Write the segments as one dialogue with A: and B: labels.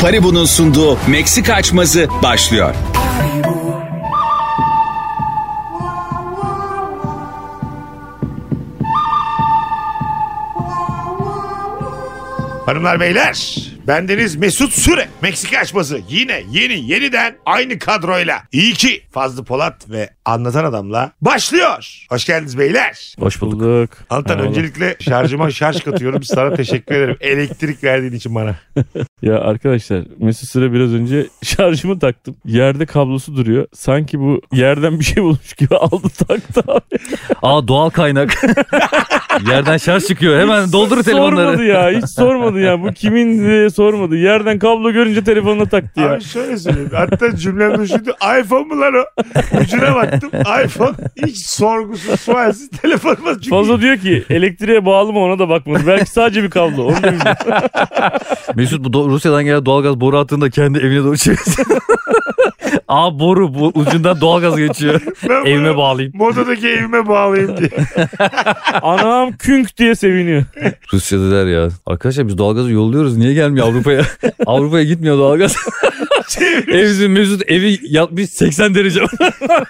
A: Paribu'nun sunduğu Meksika açmazı başlıyor.
B: Hanımlar beyler bendeniz Mesut Süre Meksika açması yine yeni yeniden aynı kadroyla iyi ki Fazlı Polat ve Anlatan Adam'la başlıyor. Hoş geldiniz beyler.
C: Hoş bulduk.
B: Anlatan
C: Merhaba.
B: öncelikle şarjıma şarj katıyorum sana teşekkür ederim elektrik verdiğin için bana.
C: Ya arkadaşlar Mesut Süre biraz önce şarjımı taktım. Yerde kablosu duruyor. Sanki bu yerden bir şey bulmuş gibi aldı taktı abi.
D: Aa doğal kaynak. Yerden şarj çıkıyor. Hemen doldur
C: Sormadı
D: telefonları.
C: ya hiç sormadı ya. Bu kimin diye sormadı. Yerden kablo görünce telefonuna taktı ya.
B: Abi şöyle söyleyeyim hatta cümlem düşündü iPhone mu lan o? Ucuna baktım iPhone hiç sorgusuz sualsiz telefonuma çünkü.
C: Fazla diyor ki elektriğe bağlı mı ona da bakmadı. Belki sadece bir kablo. Onu da bilmiyorum.
D: Mesut bu do- Rusya'dan gelen doğalgaz boru hattında kendi evine doğru çevirsin. Aa boru bu ucundan doğalgaz geçiyor.
B: Ben bunu
D: Evime bağlayayım.
B: Modadaki evime bağlayayım diye.
C: Anam künk diye seviniyor.
D: Rusya dediler ya. Arkadaşlar biz doğalgazı yolluyoruz. Niye gelmiyor Avrupa'ya? Avrupa'ya gitmiyor doğalgaz. Evimizin Mesut evi yatmış 80 derece.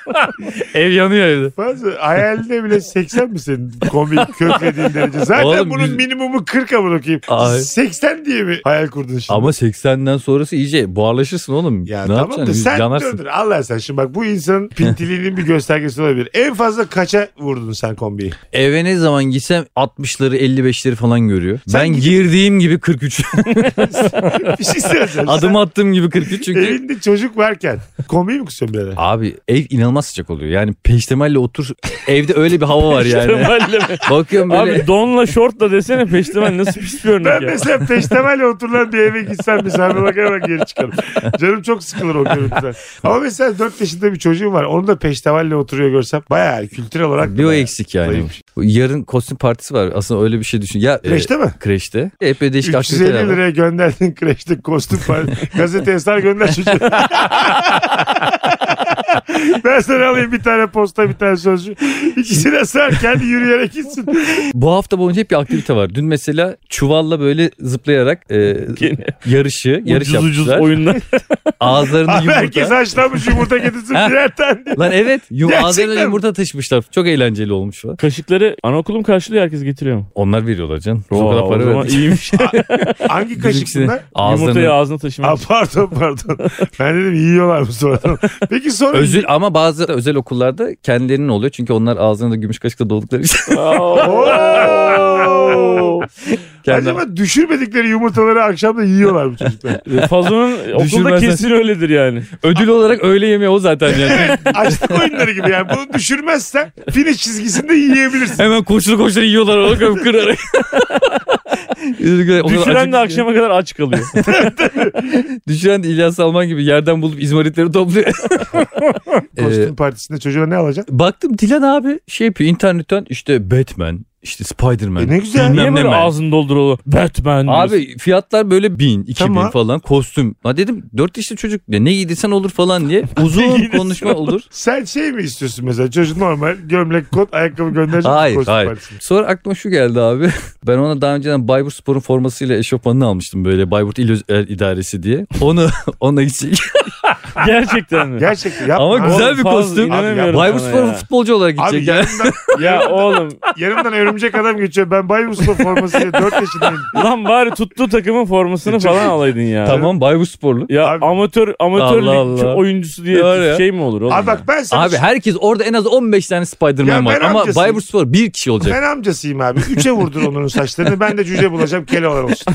D: Ev yanıyor evde.
B: Bazı hayalinde bile 80 mi senin komik köklediğin derece? Zaten
D: Oğlum
B: bunun
D: biz-
B: minimumu 40 amına koyayım.
D: Ay.
B: 80 diye mi hayal kurdun şimdi?
D: Ama 80'den sonrası iyice buharlaşırsın oğlum.
B: ya
D: ne
B: tamam
D: yapacaksın?
B: da
D: Biz
B: sen
D: Yanarsın.
B: döndür. Allah sen şimdi bak bu insanın pintiliğinin bir göstergesi olabilir. En fazla kaça vurdun sen kombiyi?
D: Eve ne zaman gitsem 60'ları 55'leri falan görüyor.
B: Sen
D: ben
B: gidip-
D: girdiğim gibi 43.
B: Bir şey söyleyeceğim.
D: Adım attığım gibi 43
B: sen
D: çünkü.
B: evinde çocuk varken kombiyi mi kusuyorsun birader?
D: Abi ev inanılmaz sıcak oluyor. Yani peştemalle otur. Evde öyle bir hava var yani.
C: Peştemelle mi?
D: Bakıyorum böyle.
C: Abi donla şortla desene peştemal nasıl pis bir
B: Ben
C: örnek ya.
B: mesela peştemalle oturulan bir eve gitsem misafir bak hemen geri çıkarım. Canım çok sıkılır o görüntüden. Ama mesela 4 yaşında bir çocuğum var. Onu da peştemalle oturuyor görsem bayağı kültürel olarak. da
D: Bir o
B: bayağı
D: eksik yani.
B: zayıfmış.
D: Yarın kostüm partisi var. Aslında öyle bir şey düşün. Ya e,
B: Kreşte mi?
D: kreşte. Epey değişik
B: 350
D: aktiviteler var.
B: liraya gönderdin kreşte kostüm falan. Gazeteye sar gönder çocuğu. ben sana alayım bir tane posta bir tane sözcü. İkisine sar kendi yürüyerek gitsin.
D: Bu hafta boyunca hep bir aktivite var. Dün mesela çuvalla böyle zıplayarak e,
C: Gene.
D: yarışı yarış
C: ucuz ucuz
D: yaptılar.
C: oyunlar.
D: Ağızlarında
B: Abi
D: yumurta.
B: herkes haşlanmış yumurta getirsin
D: Ha.
B: birer tane. diye.
D: Lan evet. Yum,
B: Gerçekten
D: ağzına
B: mi?
D: yumurta taşımışlar. Çok eğlenceli olmuş falan.
C: Kaşıkları anaokulum karşılıyor herkes getiriyor mu?
D: Onlar veriyorlar canım.
C: Oo,
D: o kadar
C: o
D: para
C: zaman
D: verdik.
C: iyiymiş.
B: Hangi kaşık
D: Bizimkisi
B: bunlar?
C: Yumurtayı
D: Ağzını.
C: ağzına
B: Aa,
C: taşımak.
B: pardon pardon. Ben dedim yiyorlar mı sonradan. Peki sonra
D: Özül ama bazı özel okullarda kendilerinin oluyor. Çünkü onlar ağzına da gümüş kaşıkla doldukları için.
B: Oo!
D: kendi-
B: Acaba düşürmedikleri yumurtaları akşam da yiyorlar bu çocuklar.
C: Fazla'nın E, okulda
D: Düşürmezsen-
C: kesin öyledir yani.
D: Ödül olarak öğle yemeği o zaten yani.
B: Açlık oyunları gibi yani. Bunu düşürmezsen finish çizgisinde yiyebilirsin.
D: Hemen koşulu koşulu yiyorlar onu kırarak. O kadar
C: Düşüren de
D: acıkmış ya.
C: akşama kadar aç kalıyor.
D: Düşüren de İlyas Salman gibi yerden bulup izmaritleri topluyor. Ee,
B: Kostüm partisinde çocuğa ne alacaksın?
D: baktım Dilan abi şey yapıyor internetten işte Batman işte Spiderman.
B: E ne güzel.
D: bilmem
C: Niye
D: ne
C: böyle
D: man.
C: ağzını doldurulu? Batman. diyorsun.
D: Abi fiyatlar böyle 1000, 2000
B: Tamam.
D: falan kostüm. Ha dedim 4 yaşlı çocuk ne, ne giydirsen olur falan diye uzun
C: giydirsen
D: konuşma olur.
B: Sen şey mi istiyorsun mesela? Çocuk normal gömlek, kot, ayakkabı gönderecek mi
D: Hayır
B: kostüm
D: hayır.
B: partisine?
D: Sonra aklıma şu geldi abi. Ben ona daha önceden Bayburt Spor'un formasıyla eşofmanını almıştım böyle Bayburt İl Öz- El İdaresi diye. Onu ona gidecek.
C: Gerçekten mi?
B: Gerçekten yapma.
D: Ama
B: Oğlum,
D: güzel bir
C: Fazla
D: kostüm.
C: inanamıyorum
D: Bayburt
C: sana
D: Spor'un
C: ya.
D: futbolcu olarak gidecek.
B: Abi
D: yani.
B: yanımdan,
C: Ya oğlum
B: yanımdan örümcek adam geçiyor. Ben Bayburt Spor formasıyla 4 yaşındayım.
C: lan bari tuttuğu takımın formasını falan alaydın ya.
D: Tamam Bayburt Sporlu.
C: Ya
B: Abi-
C: amatör amatör
D: Allah
C: lig
D: Allah.
C: oyuncusu diye
D: Var ya.
C: şey mi olur oğlum?
B: Abi bak ben sana şey-
D: Abi herkes orada en az 15 tane
B: Ya
D: Spider-Man var
B: ben
D: ama
B: amcasıyım.
D: Bayburt Spor bir kişi olacak.
B: Ben amcasıyım abi. Üçe vurdun onun saçlarını. Ben de cüce bulacağım. Keloğlan olsun.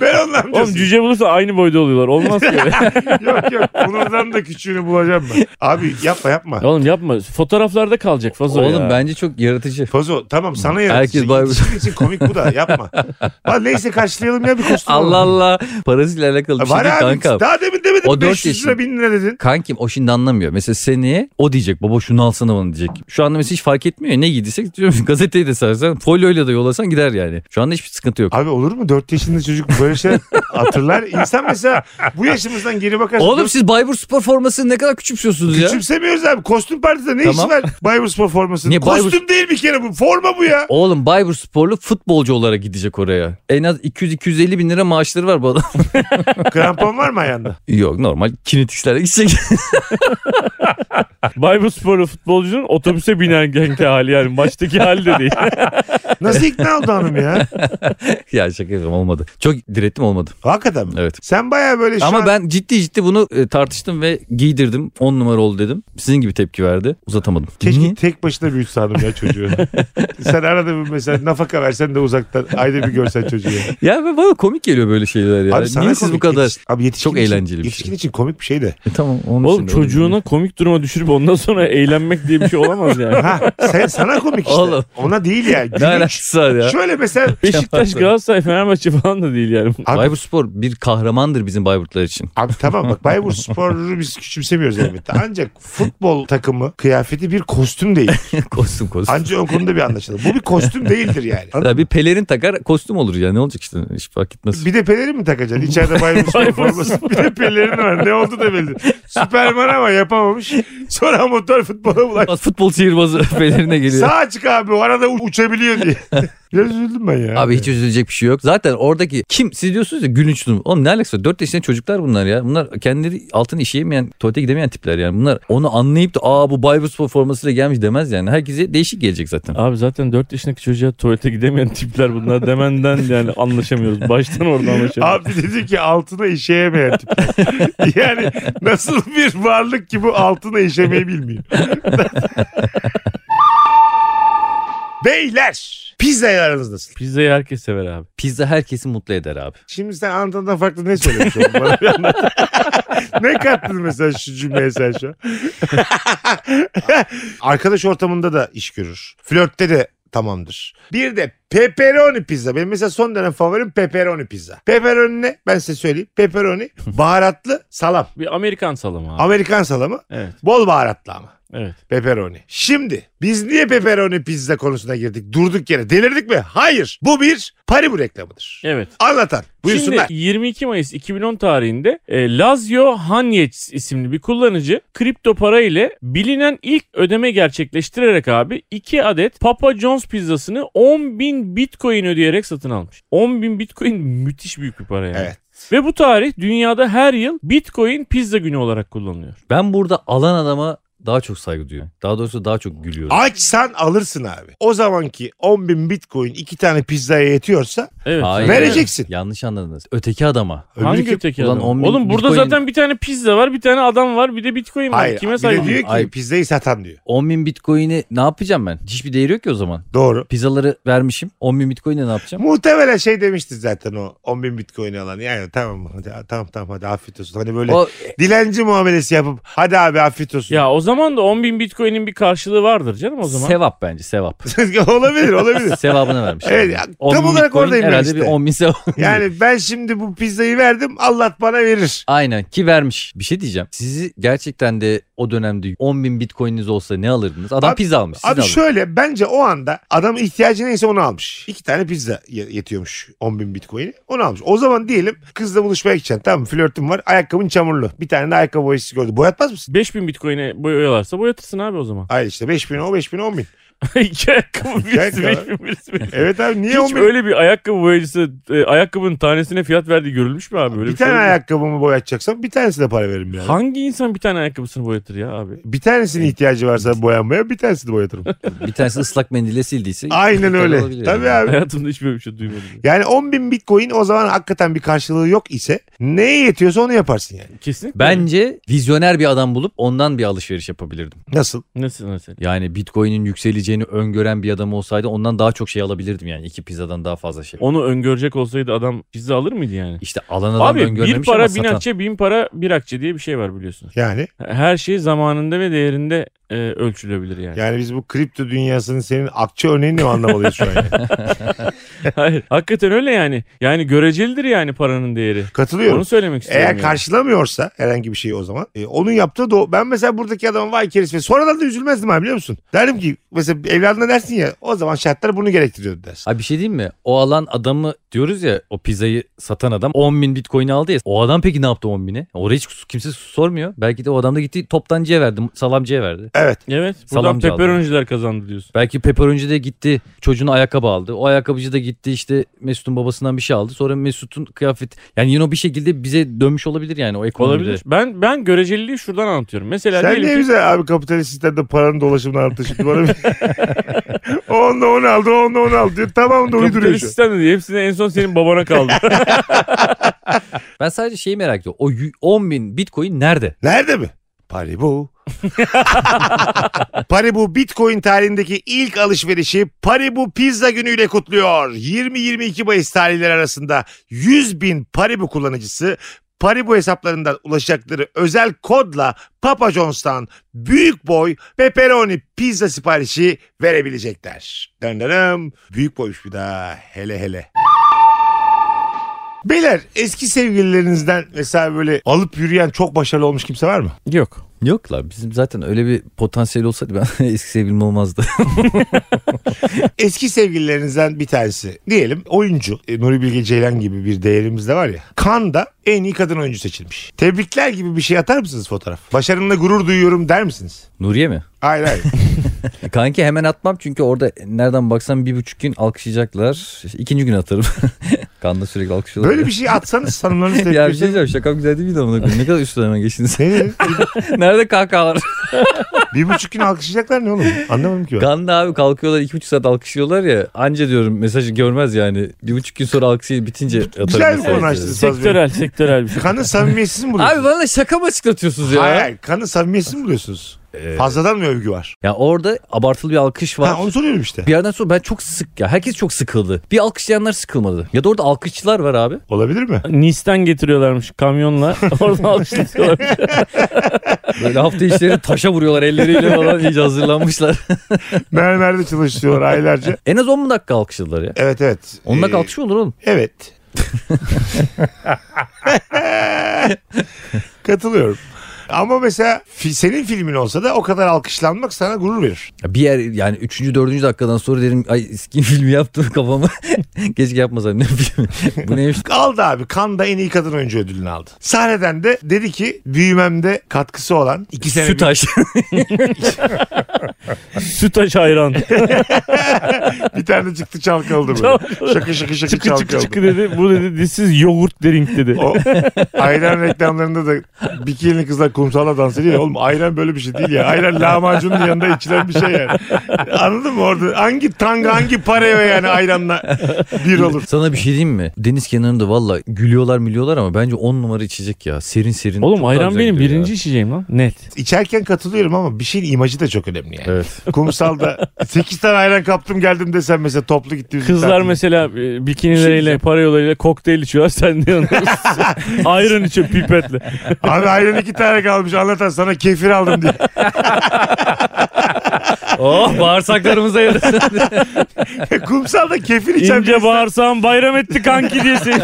B: ben onun amcasıyım.
C: Oğlum cüce bulursa aynı boyda oluyorlar. Olmaz ki öyle.
B: yok yok. Bunlardan da küçüğünü bulacağım ben. Abi yapma yapma.
C: oğlum yapma. Fotoğraflarda kalacak fazla
D: Oğlum
C: ya.
D: bence çok yaratıcı.
B: Pozo tamam sana yaratıcı.
D: Herkes bay-
B: İletişim için komik bu da yapma. Lan neyse karşılayalım ya bir kostüm.
D: Allah
B: alalım.
D: Allah. Parasıyla alakalı bir şey
B: Var
D: değil
B: abi
D: kanka.
B: daha demin demedin
D: O
B: mi?
D: dört
B: 500 lira
D: yaşında.
B: 1000 lira dedin.
D: Kankim o şimdi anlamıyor. Mesela seneye o diyecek baba şunu alsana bana diyecek. Şu anda mesela hiç fark etmiyor ya ne giydiysek diyorum gazeteyi de sarsan folyoyla da yollasan gider yani. Şu anda hiçbir sıkıntı yok.
B: Abi olur mu 4 yaşında çocuk böyle şey hatırlar. İnsan mesela bu yaşımızdan Sen geri bakarsın.
D: Oğlum siz Baybur Spor formasını ne kadar küçümsüyorsunuz ya.
B: Küçümsemiyoruz abi. Kostüm partisinde ne işi
D: Tamam.
B: var Baybur Spor formasının?
D: Niye Baybur-
B: Kostüm değil bir kere bu. Forma bu ya.
D: Oğlum Baybur Sporlu futbolcu olarak gidecek oraya. En az 200-250 bin lira maaşları var bu adam.
B: Krampon var mı ayağında?
D: Yok normal kinetikslere gidecek.
C: Bayburt Sporlu futbolcunun otobüse binerkenki hali yani maçtaki hali de değil.
B: Nasıl ikna oldu hanım ya?
D: ya şaka yapıyorum olmadı. Çok direttim olmadı.
B: Hakikaten mi?
D: Evet.
B: Sen baya böyle şu
D: Ama
B: an...
D: ben ciddi ciddi bunu e, tartıştım ve giydirdim. 10 numara oldu dedim. Sizin gibi tepki verdi. Uzatamadım.
B: Keşke
D: Niye?
B: tek başına büyütse hanım ya çocuğu. Sen arada bir mesela nafaka versen de uzaktan ayda bir görsen çocuğu.
D: Ya ve bana komik geliyor böyle şeyler ya.
B: sana
D: Niye siz bu
B: komik.
D: kadar?
B: Yetiş- Abi yetişkin
D: Çok
B: için-
D: eğlenceli bir şey.
B: Yetişkin için komik bir şey de.
D: E, tamam onun
C: Oğlum
D: için de öyle
C: çocuğuna komik duruma düşürüp ondan sonra eğlenmek diye bir şey olamaz yani.
B: Ha, sen, sana komik işte.
D: Oğlum.
B: Ona değil ya.
D: değil. Ne
B: Gülüş.
D: alakası var ya?
B: Şöyle mesela Şey,
C: Beşiktaş, Galatasaray, Fenerbahçe falan da değil yani.
B: Abi-
D: Bayburt Spor bir kahramandır bizim Bayburtlar için.
B: Abi tamam bak Bayburt Spor'u biz küçümsemiyoruz elbette. Ancak futbol takımı kıyafeti bir kostüm değil.
D: kostüm kostüm.
B: Ancak o konuda bir anlaşalım. Bu bir kostüm değildir yani. Anladın
D: Ya
B: mı?
D: bir pelerin takar kostüm olur ya ne olacak işte hiç fark etmez.
B: Bir de pelerin mi takacaksın? İçeride Bayburt Spor forması. Bir de pelerin var. Ne oldu da belli. değil. Süperman ama yapamamış. Sonra amatör futbola bulaştı.
D: Futbol sihirbazı pelerine geliyor.
B: Sağ çık abi o arada u- uçabiliyor diye. Biraz üzüldüm ben ya.
D: Abi hiç üzülecek bir şey yok. Zaten oradaki kim siz diyorsunuz ya gülünç durum. Oğlum ne alakası var? 4 yaşında çocuklar bunlar ya. Bunlar kendileri altın işeyemeyen, tuvalete gidemeyen tipler yani. Bunlar onu anlayıp da aa bu Bayburt Spor formasıyla gelmiş demez yani. Herkese değişik gelecek zaten.
C: Abi zaten 4 yaşındaki çocuğa tuvalete gidemeyen tipler bunlar demenden yani anlaşamıyoruz. Baştan orada anlaşamıyoruz.
B: Abi dedi ki altına işeyemeyen tipler. yani nasıl bir varlık ki bu altına işemeyi bilmiyor. Beyler pizzayı aranız nasıl?
C: Pizzayı herkes sever abi.
D: Pizza herkesi mutlu eder abi.
B: Şimdi sen Antalya'dan farklı ne söylemiş oldun bana bir anlat. ne kattın mesela şu cümleye sen şu an? Arkadaş ortamında da iş görür. Flörtte de tamamdır. Bir de pepperoni pizza. Benim mesela son dönem favorim pepperoni pizza. Pepperoni ne? Ben size söyleyeyim. Pepperoni baharatlı salam.
C: Bir Amerikan salamı abi.
B: Amerikan salamı.
C: Evet,
B: Bol baharatlı ama.
C: evet.
B: Pepperoni. Şimdi biz niye pepperoni pizza konusuna girdik? Durduk yere. Delirdik mi? Hayır. Bu bir Paribu reklamıdır.
C: Evet.
B: Anlatan. Buyursunlar.
C: Şimdi 22 Mayıs 2010 tarihinde e, Lazio Hanyets isimli bir kullanıcı kripto para ile bilinen ilk ödeme gerçekleştirerek abi 2 adet Papa John's pizzasını 10.000 bitcoin ödeyerek satın almış. 10.000 bitcoin müthiş büyük bir para yani.
B: Evet.
C: Ve bu tarih dünyada her yıl bitcoin pizza günü olarak kullanılıyor.
D: Ben burada alan adama daha çok saygı duyuyorum. Daha doğrusu daha çok gülüyorum.
B: Açsan alırsın abi. O zamanki 10 bin bitcoin iki tane pizzaya yetiyorsa
C: Evet.
D: Hayır.
B: Vereceksin.
D: Yanlış anladınız. Öteki adama.
B: öbürü
C: Hangi
B: kim?
C: öteki
D: Ulan
C: adam?
D: 10.000
C: Oğlum burada
D: bitcoin-
C: zaten bir tane pizza var, bir tane adam var, bir de bitcoin var.
B: Hayır.
C: Kime
B: bir de
C: saygı
B: diyor ki
D: Hayır.
B: pizzayı satan diyor.
D: 10 bin bitcoin'i ne yapacağım ben? Hiçbir değeri yok ki o zaman.
B: Doğru.
D: Pizzaları vermişim. 10 bin bitcoin'le ne yapacağım?
B: Muhtemelen şey demişti zaten o 10 bin bitcoin'i alan. Yani tamam hadi, tamam tamam hadi afiyet olsun. Hani böyle
D: O
B: dilenci muamelesi yapıp hadi abi afiyet olsun.
C: Ya o zaman da 10.000 bitcoin'in bir karşılığı vardır canım o zaman.
D: sevap bence sevap.
B: olabilir olabilir.
D: Sevabını vermiş.
B: Evet, ya, tam
D: 10 bin
B: olarak
D: bitcoin
B: oradayım ben
D: herhalde
B: işte.
D: bir 10 bin sevap.
B: Yani ben şimdi bu pizzayı verdim Allah bana verir.
D: Aynen ki vermiş. Bir şey diyeceğim. Sizi gerçekten de o dönemde 10 bin bitcoin'iniz olsa ne alırdınız? Adam
B: Abi-
D: pizza almış. Siz
B: Abi
D: ne alırdınız?
B: şöyle bence o anda adamın ihtiyacı neyse onu almış. İki tane pizza ye- yetiyormuş 10 bin bitcoin'i. Onu almış. O zaman diyelim kızla buluşmaya gideceksin tamam mı? Flörtüm var ayakkabın çamurlu. Bir tane de ayakkabı boyası gördü. Boyatmaz mısın?
C: 5000 bitcoin'e boyuyorlarsa boyatırsın abi o zaman.
B: Hayır işte 5 bin o 5 bin 10 bin.
C: İki ayakkabı birisi
B: ayakkabı.
C: 5000 birisi. beş bin.
B: Evet abi niye 10
C: Hiç
B: bin?
C: öyle bir ayakkabı boyacısı e, ayakkabının tanesine fiyat verdiği görülmüş mü abi? Böyle
B: bir
C: şey
B: tane
C: olur mu?
B: ayakkabımı boyatacaksam bir tanesine para veririm yani.
C: Hangi insan bir tane ayakkabısını boyatır ya abi?
B: Bir tanesinin ihtiyacı varsa boyanmaya bir tanesini boyatırım.
D: Bir tanesi ıslak mendille sildiyse.
B: Aynen
D: bitcoin
B: öyle.
D: olabilir
B: Tabii
D: yani.
B: abi.
C: Hayatımda hiç böyle bir şey duymadım.
B: Yani 10 bin bitcoin o zaman hakikaten bir karşılığı yok ise neye yetiyorsa onu yaparsın yani.
C: Kesinlikle.
D: Bence vizyoner bir adam bulup ondan bir alışveriş yapabilirdim.
B: Nasıl?
C: Nasıl mesela?
D: Yani bitcoin'in yükseleceğini öngören bir adam olsaydı ondan daha çok şey alabilirdim yani. iki pizzadan daha fazla şey.
C: Onu öngörecek olsaydı adam pizza alır mıydı yani?
D: İşte alan adam
C: Abi bir
D: öngörmemiş
C: para
D: ama
C: bin
D: satan.
C: akçe bin para bir akçe diye bir şey var biliyorsunuz.
B: Yani
C: Her şey zamanında ve değerinde e, ölçülebilir yani.
B: yani biz bu kripto dünyasının senin akçe örneğini mi anlamalıyız şu an? yani?
C: Hayır hakikaten öyle yani. Yani görecelidir yani paranın değeri.
B: Katılıyorum.
C: Onu söylemek istiyorum.
B: Eğer
C: yani.
B: karşılamıyorsa herhangi bir şey şeyi o zaman e, onun yaptığı da o- ben mesela buradaki adamın vay kerisi ve sonradan da üzülmezdim abi biliyor musun? Derdim ki mesela evladına dersin ya o zaman şartlar bunu gerektiriyordu dersin.
D: Abi bir şey diyeyim mi? O alan adamı diyoruz ya o pizzayı satan adam 10 bin bitcoin aldı ya. O adam peki ne yaptı 10 bini? Oraya hiç kimse sormuyor. Belki de o adam da gitti toptancıya verdi. Salamcıya verdi.
B: Evet.
C: Evet. Buradan
D: Salamcı aldı.
C: peperonciler kazandı diyorsun.
D: Belki pepperoncı da gitti çocuğuna ayakkabı aldı. O ayakkabıcı da gitti işte Mesut'un babasından bir şey aldı. Sonra Mesut'un kıyafet. Yani yine o bir şekilde bize dönmüş olabilir yani o ekonomide.
C: Olabilir. Ben ben göreceliliği şuradan anlatıyorum. Mesela
B: Sen
C: diyelim
B: niye
C: ki-
B: güzel abi kapitalist sistemde paranın dolaşımını arttı şimdi bana bir... o onda onu aldı, o onda onu aldı diyor. Tamam da uyduruyor
C: Kapitalist
B: şu. an.
C: sistem de değil. Hepsini en son senin babana kaldı.
D: Ben sadece şeyi merak ediyorum. O 10 bin bitcoin nerede?
B: Nerede mi? Paribu. Paribu Bitcoin tarihindeki ilk alışverişi Paribu Pizza günüyle kutluyor. 20-22 Mayıs tarihleri arasında 100 bin Paribu kullanıcısı Paribu hesaplarından ulaşacakları özel kodla Papa John's'tan büyük boy pepperoni pizza siparişi verebilecekler. Döndürüm. Büyük boymuş bir daha. Hele hele. Beyler eski sevgililerinizden mesela böyle alıp yürüyen çok başarılı olmuş kimse var mı?
C: Yok.
D: Yok la bizim zaten öyle bir potansiyel olsaydı ben eski sevgilim olmazdı.
B: Eski sevgililerinizden bir tanesi diyelim oyuncu E, Nuri Bilge Ceylan gibi bir değerimiz de var ya. Kanda en iyi kadın oyuncu seçilmiş. Tebrikler gibi bir şey atar mısınız fotoğraf? Başarınla gurur duyuyorum der misiniz?
D: Nuriye mi?
B: Hayır hayır.
D: Kanki hemen atmam çünkü orada nereden baksan bir buçuk gün alkışlayacaklar. İkinci gün atarım. Kanda sürekli alkışlıyorlar.
B: Böyle bir şey atsanız sanımlarınız
D: ya bir şey
B: tepkisi.
D: diyeceğim şakam güzel değil miydi amına koyayım? Ne kadar üstüne hemen geçtiniz.
B: Ne dedin?
D: Nerede kahkahalar?
B: Bir buçuk gün alkışlayacaklar ne oğlum? Anlamadım ki ben.
D: Ganda abi kalkıyorlar iki buçuk saat alkışlıyorlar ya. Anca diyorum mesajı görmez yani. Bir buçuk gün sonra alkışı bitince atarım.
B: Güzel bir
D: mesajı.
B: konu açtınız.
C: Sektörel sektörel bir şey.
B: Kanın samimiyetsiz mi
D: Abi
B: buluyorsunuz?
D: bana da şaka mı açıklatıyorsunuz ya?
B: Hayır hayır. Kanın samimiyetsiz mi buluyorsunuz? Fazladan mı övgü var?
D: Ya orada abartılı bir alkış var.
B: Ha, onu soruyorum işte.
D: Bir yerden sonra ben çok sık ya herkes çok sıkıldı. Bir alkışlayanlar sıkılmadı. Ya da orada alkışçılar var abi.
B: Olabilir mi?
C: Nis'ten getiriyorlarmış kamyonla. Orada alıştırıyorlarmış.
D: Böyle hafta işleri taşa vuruyorlar elleriyle falan iyice hazırlanmışlar.
B: Mermerde çalışıyorlar aylarca.
D: en az 10 mu dakika alkışladılar ya.
B: Evet evet.
D: 10 dakika
B: Ee,
D: alkış mı olur oğlum.
B: Evet. Katılıyorum. Ama mesela fi- senin filmin olsa da o kadar alkışlanmak sana gurur verir.
D: Ya Bir yer yani 3. 4. dakikadan sonra derim ay skin filmi yaptım kafamı. Keşke yapmasaydım ne bileyim. Bu neymiş?
B: Aldı abi. Kanda en iyi kadın oyuncu ödülünü aldı. Sahneden de dedi ki büyümemde katkısı olan iki sene bir-
D: Sütaş.
C: Sütaş ayran.
B: bir, tane çıktı çalkaladı böyle.
C: Çalkaladı.
B: şakı şakı şakı
C: çıkı çıkı
B: çalkaladı.
C: çıkı dedi. Bu dedi this is yogurt drink dedi.
B: O ayran reklamlarında da bikinli kızlar kumsala dans ediyor ya. Oğlum ayran böyle bir şey değil ya. Ayran lahmacunun yanında içilen bir şey yani. Anladın mı orada? Hangi tanga hangi paraya yani ayranla bir olur.
D: Sana bir şey diyeyim mi? Deniz kenarında valla gülüyorlar milyolar ama bence 10 numara içecek ya. Serin serin.
C: Oğlum
D: Çok daha
C: ayran
D: güzel
C: benim
D: gidiyor ya.
C: birinci içeceğim lan. Net.
B: İçerken katılıyorum ama bir şeyin imajı da çok önemli yani.
D: Evet.
B: Kumsalda 8 tane ayran kaptım geldim desen mesela toplu gittiğimiz bir
C: Kızlar
B: tatil.
C: mesela e, bikinileriyle, parayoluyla kokteyl içiyorlar. Sen de yanıyorsun. ayran içiyor pipetle.
B: Abi ayran 2 tane kalmış anlatan sana kefir aldım diye.
D: Oh bağırsaklarımıza yarasın.
B: Kumsalda kefir içen
C: İnce
B: birisi.
C: bağırsam bayram etti kanki diye seni.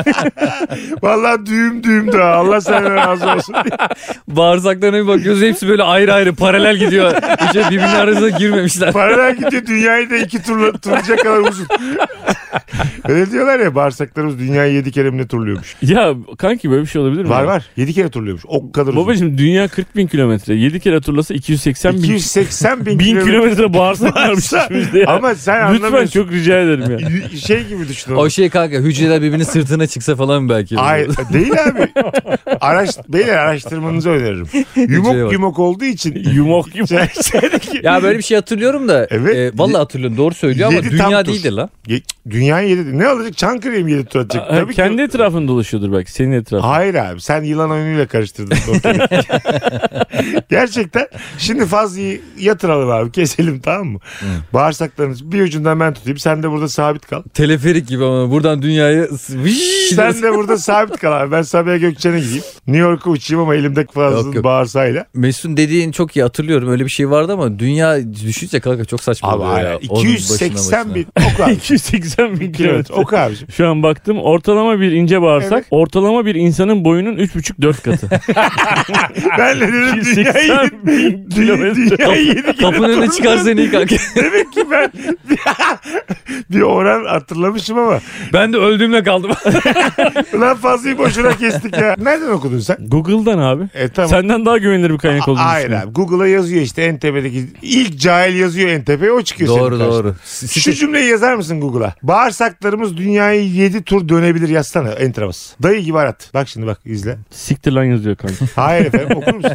B: Vallahi düğüm düğüm daha. Allah senden razı olsun diye.
D: Bağırsaklarına bir bakıyoruz hepsi böyle ayrı ayrı paralel gidiyor. Hiç birbirinin arasına girmemişler.
B: Paralel gidiyor dünyayı da iki turla, turlayacak kadar uzun. Öyle diyorlar ya bağırsaklarımız dünyayı yedi kere mi ne turluyormuş.
C: ya kanki böyle bir şey olabilir mi?
B: Var
C: ya?
B: var yedi kere turluyormuş o kadar uzun.
C: Babacım dünya 40 bin kilometre. 7 kere turlasa 280 bin.
B: 280 bin,
C: bin
B: kilometre.
C: kilometre bağırsak varmış
B: Varsa-
C: içimizde ya.
B: Ama sen
C: Lütfen
B: anlamıyorsun.
C: çok rica ederim ya.
B: Y- Şey gibi düşün. onu.
D: O şey kanka hücreler birbirinin sırtına çıksa falan belki.
B: Hayır değil abi. Araş, beyler araştırmanızı öneririm.
D: Hücreye
B: Yumuk
D: bak.
B: yumuk olduğu için.
C: Yumok yumok.
B: Sen- sendeki-
D: Ya böyle bir şey hatırlıyorum da.
B: Evet.
D: E, vallahi hatırlıyorum doğru söylüyor ama
B: Yedi tam
D: dünya
B: tur.
D: değildir lan.
B: Ge- Dünyayı yedi. Ne olacak? Çankırı'yı mı yedi tur atacak?
C: Ha,
B: Tabii
C: kendi
B: ki.
C: etrafında dolaşıyordur belki senin etrafında.
B: Hayır abi sen yılan oyunuyla karıştırdın. ortalığı. Gerçekten. Şimdi Fazlı'yı yatıralım abi keselim tamam mı? Bağırsaklarınız bir ucundan ben tutayım sen de burada sabit kal.
D: Teleferik gibi ama buradan dünyayı Vişş!
B: Sen de burada sabit kal abi ben Sabiha Gökçen'e gideyim. New York'a uçayım ama elimdeki
D: Yok,
B: Fazlı'nın
D: yok.
B: bağırsağıyla.
D: Mesut'un dediğini çok iyi hatırlıyorum. Öyle bir şey vardı ama dünya düşünce kanka çok saçma
B: Abi
D: oluyor
B: hayır,
D: ya. Onun başına
B: 280
D: başına.
B: bin. O kadar.
C: 280 80 bin kilometre.
B: O kadar. abicim.
C: Şu an baktım ortalama bir ince bağırsak
B: Evet.
C: ortalama bir insanın boyunun 3,5-4 katı.
B: Ben de dedim dünya
C: 80 bin kilometre.
B: Dünya yedi
D: Kapının önüne çıkar seni ilk hakem.
B: Demek ki ben bir oran hatırlamışım ama.
D: Ben de öldüğümle kaldım.
B: Ulan fazlayı boşuna kestik ya. Nereden okudun sen?
C: Google'dan abi.
B: E tamam.
C: Senden daha güvenilir bir kaynak olduğunu
B: Hayır
C: düşünüyorum.
B: abi Google'a yazıyor işte en tepedeki ilk cahil yazıyor en tepeye o çıkıyor.
D: doğru
B: senin karşına.
D: doğru.
B: Şu cümleyi yazar mısın Google'a? Bağırsaklarımız dünyayı 7 tur dönebilir yazsana entramız. Dayı gibi arat. Bak şimdi bak izle.
C: Siktir lan yazıyor kanka.
B: Hayır efendim okur musun?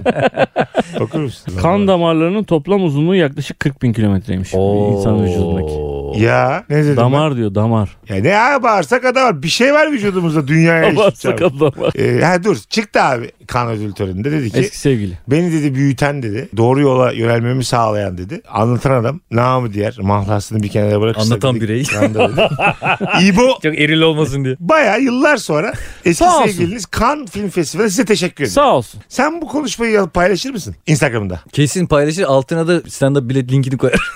B: okur musun?
C: kan damarlarının toplam uzunluğu yaklaşık 40 bin kilometreymiş. bir İnsan vücudundaki.
B: Ya ne dedim
C: Damar diyor damar.
B: ben? Ya ne ya bağırsak adam var. Bir şey var vücudumuzda dünyaya
C: Damar
B: eşit abi.
C: sakal damar.
B: Ee, ha dur çıktı abi kan ödül töreninde dedi ki
C: Eski sevgili.
B: Beni dedi büyüten dedi. Doğru yola yönelmemi sağlayan dedi. Anlatan adam namı diğer mahlasını bir kenara bırakırsa.
D: Anlatan
B: dedi,
D: birey.
B: "Kanda" dedi. İbo
D: Çok eril olmasın diye.
B: baya yıllar sonra eski
C: Sağ olsun.
B: sevgiliniz Kan Film Festivali size teşekkür ederim.
C: Sağ olsun.
B: Sen bu konuşmayı yazıp paylaşır mısın? Instagram'da.
D: Kesin paylaşır altına da stand up bilet linkini koyar.